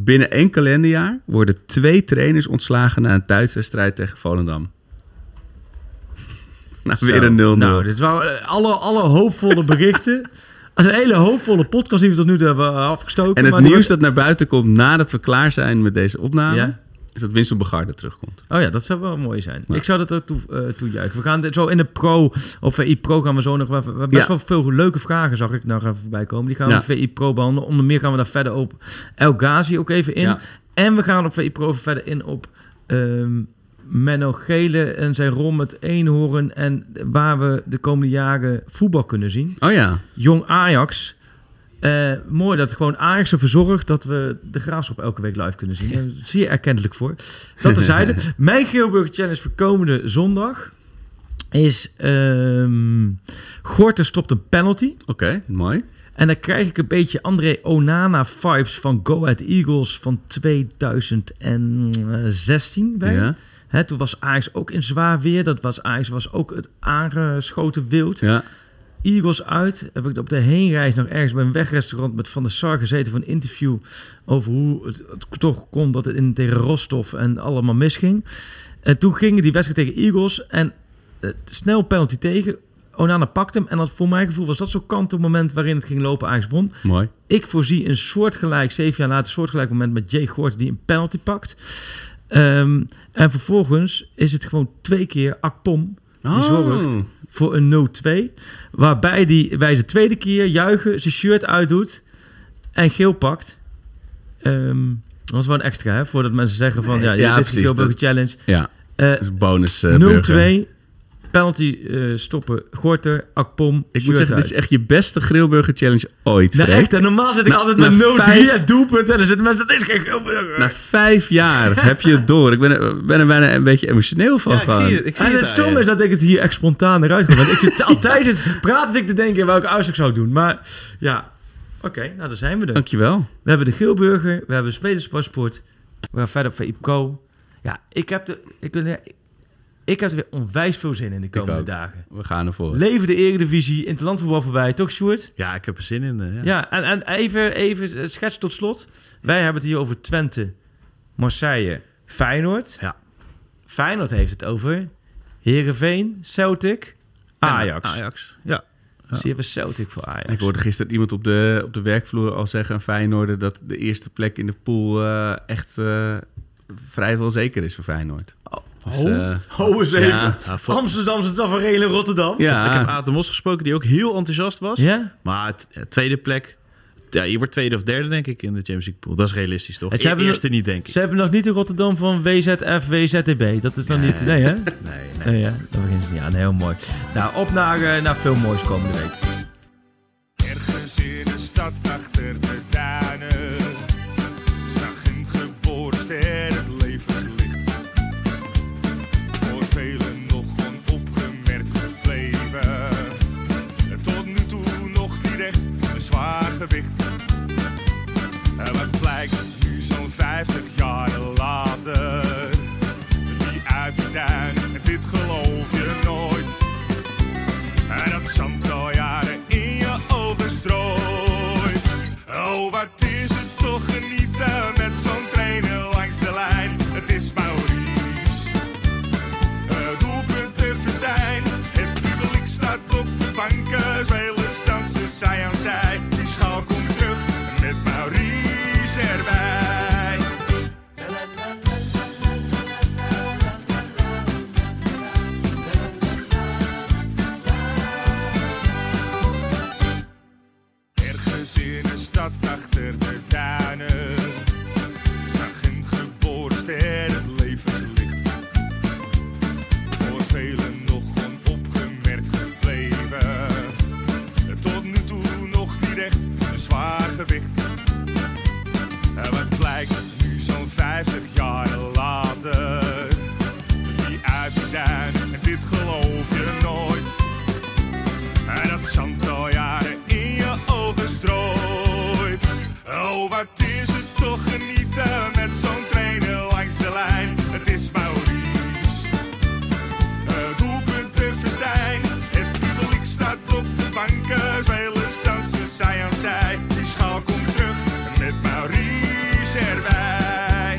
[SPEAKER 8] Binnen één kalenderjaar worden twee trainers ontslagen na een thuiswedstrijd tegen Volendam. Nou, weer
[SPEAKER 9] Zo.
[SPEAKER 8] een 0-0.
[SPEAKER 9] Nou, dit waren alle, alle hoopvolle berichten. Dat is een hele hoopvolle podcast die we tot nu toe hebben afgestoken.
[SPEAKER 8] en het
[SPEAKER 9] maar die
[SPEAKER 8] nieuws
[SPEAKER 9] wordt-
[SPEAKER 8] dat naar buiten komt nadat we klaar zijn met deze opname...
[SPEAKER 9] Ja.
[SPEAKER 8] is dat Winston Begaarde terugkomt.
[SPEAKER 9] Oh ja, dat zou wel mooi zijn. Ik zou dat ook toe, eh, toejuichen. We gaan dit zo in de pro, of VI Pro gaan we zo nog... wel even- We hebben best
[SPEAKER 8] Ja.
[SPEAKER 9] wel veel leuke vragen, zag ik nou even voorbij komen. Die gaan we
[SPEAKER 8] Ja.
[SPEAKER 9] op VI Pro behandelen. Onder meer gaan we daar verder op El Ghazi ook even in.
[SPEAKER 8] Ja.
[SPEAKER 9] En we gaan op VI Pro even verder in op ehm, Menno Gele en zijn rol met Eenhoorn. En waar we de komende jaren voetbal kunnen zien.
[SPEAKER 8] Oh ja.
[SPEAKER 9] Jong Ajax. Eh, mooi dat gewoon Ajax ervoor zorgt dat we de graafschap elke week live kunnen zien. Daar zie je erkentelijk voor. Dat terzijde. Mijn Geelburger Challenge voor komende zondag is... ehm Gorter stopt een penalty.
[SPEAKER 8] Oké, mooi.
[SPEAKER 9] En dan krijg ik een beetje André Onana-vibes van Go Ahead Eagles van 2016 bij.
[SPEAKER 8] Ja.
[SPEAKER 9] Hè, toen was Ajax ook in zwaar weer. Dat was Ajax was ook het aangeschoten wild.
[SPEAKER 8] Ja.
[SPEAKER 9] Eagles uit. Heb ik op de heenreis nog ergens bij een wegrestaurant met Van der Sar gezeten van een interview over hoe het, het toch kon dat het in tegen Rostov en allemaal misging. En toen gingen die wedstrijd tegen Eagles en eh, snel penalty tegen. Onana pakt hem en dat, voor mijn gevoel was dat zo'n kant op het moment waarin het ging lopen. Ajax won.
[SPEAKER 8] Mooi.
[SPEAKER 9] Ik voorzie een soortgelijk, zeven jaar later, soortgelijk moment met Jay Gort die een penalty pakt. Ehm, en vervolgens is het gewoon twee keer Akpom die
[SPEAKER 8] Oh.
[SPEAKER 9] zorgt voor een 0-2. Waarbij die, wij de tweede keer juichen, zijn shirt uitdoet en geel pakt. Ehm, dat was wel een extra, hè? Voordat mensen zeggen van, ja,
[SPEAKER 8] ja,
[SPEAKER 9] dit is
[SPEAKER 8] precies,
[SPEAKER 9] de Geel Burger
[SPEAKER 8] dat-
[SPEAKER 9] Challenge.
[SPEAKER 8] Ja,
[SPEAKER 9] Eh,
[SPEAKER 8] dat is bonus eh, burger.
[SPEAKER 9] 0-2. Penalty eh, stoppen, Gorter, Akpom.
[SPEAKER 10] Ik moet zeggen, dit is echt je beste Grilburger Challenge ooit.
[SPEAKER 9] Nou,
[SPEAKER 10] Freek.
[SPEAKER 9] echt, en normaal zit ik
[SPEAKER 10] Na-
[SPEAKER 9] altijd
[SPEAKER 10] na
[SPEAKER 9] met 0-3
[SPEAKER 10] vijf-
[SPEAKER 9] en doelpunt. En dan zitten mensen, dat is geen
[SPEAKER 10] Na vijf jaar heb je het door. Ik ben er, ben er bijna een beetje emotioneel van. gewoon.
[SPEAKER 9] en het stom is dat ik het hier echt spontaan eruit kom. Want ik zit altijd het praten zit ik te denken welke uitslag zou ik doen. Maar ja, oké, nou daar zijn we er.
[SPEAKER 10] Dankjewel.
[SPEAKER 9] We hebben de Geelburger, we hebben spelerspaspoort, we gaan verder voor IPCO. Ja, ik heb, de, ik, wil- ik heb er weer onwijs veel zin in de
[SPEAKER 10] Ik
[SPEAKER 9] komende
[SPEAKER 10] ook.
[SPEAKER 9] dagen.
[SPEAKER 10] We gaan ervoor.
[SPEAKER 9] Leven de Eredivisie, interlandvoetbal voorbij, toch Sjoerd?
[SPEAKER 11] Ja, ik heb er zin in. eh,
[SPEAKER 9] Ja, en, en even, even schets tot slot. Wij hebben het hier over Twente, Marseille, Feyenoord.
[SPEAKER 11] Ja.
[SPEAKER 9] Feyenoord heeft het over Herenveen, Celtic, Ajax.
[SPEAKER 11] eh, Ajax, ja.
[SPEAKER 9] Ze hebben Celtic voor Ajax.
[SPEAKER 10] Ik hoorde gisteren iemand op de, op de werkvloer al zeggen, een Feyenoorder, dat de eerste plek in de pool eh, echt eh, vrijwel zeker is voor Feyenoord. Dus, eh,
[SPEAKER 11] Oh,
[SPEAKER 9] Ho eens even.
[SPEAKER 10] ja.
[SPEAKER 9] Amsterdamse tafereel in Rotterdam.
[SPEAKER 11] Ik heb Aad de Mos gesproken, die ook heel enthousiast was.
[SPEAKER 9] Ja?
[SPEAKER 11] Maar t- eh, tweede plek... Ja, je wordt tweede of derde, denk ik, in de Champions League pool. Dat is realistisch, toch?
[SPEAKER 9] Het
[SPEAKER 11] Het eerste niet, denk ik.
[SPEAKER 9] Ze hebben nog niet in Rotterdam van WZF, WZTB. Dat is dan niet... Nee, hè? Nee, nee. Oh ja, dat begint ze niet aan. Heel mooi. Nou, op naar, eh, naar veel moois komende week.
[SPEAKER 14] Ergens in de stad achter de duinen zag een geborste her het levenslicht. Voor velen nog onopgemerkt gebleven. En tot nu toe nog niet echt een zwaar gewicht. En wat blijkt nu zo'n 50 jaar later? Die uit de duin, en dit geloof je nooit. En dat zand al jaren in je ogen strooit. Oh, wat is het toch genieten met zo'n trainer langs de lijn. Het is Maurice. Het doelpunt heeft Verstijn. Het publiek staat op de banken. Spelers dansen zij aan zij. Die schaal komt terug met Maurice erbij. Ergens in de stad achter de duinen zag een geboren ster het levenslicht. Voor velen nog onopgemerkt gebleven. Tot nu toe nog niet echt een zwaar gewicht. En wat blijkt nu zo'n 50 jaar later? Die uit de duin, en dit geloof je nooit. En dat zand al jaren in je ogen strooit. Oh, wat is het toch genieten met zo'n trainer langs de lijn. Het is Maurice. Het doelpunt te verstijn. Het publiek staat op de banken. Spelers dansen zij aan zij. Die schaal komt terug met Maurice erbij.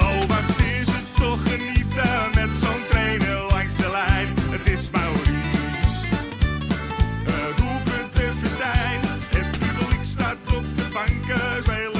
[SPEAKER 14] Oh, wat is het toch genieten met zo'n trainer langs de lijn. Het is Maurice. Het doelpunt te verstijn. Het publiek staat op de banken. Spelers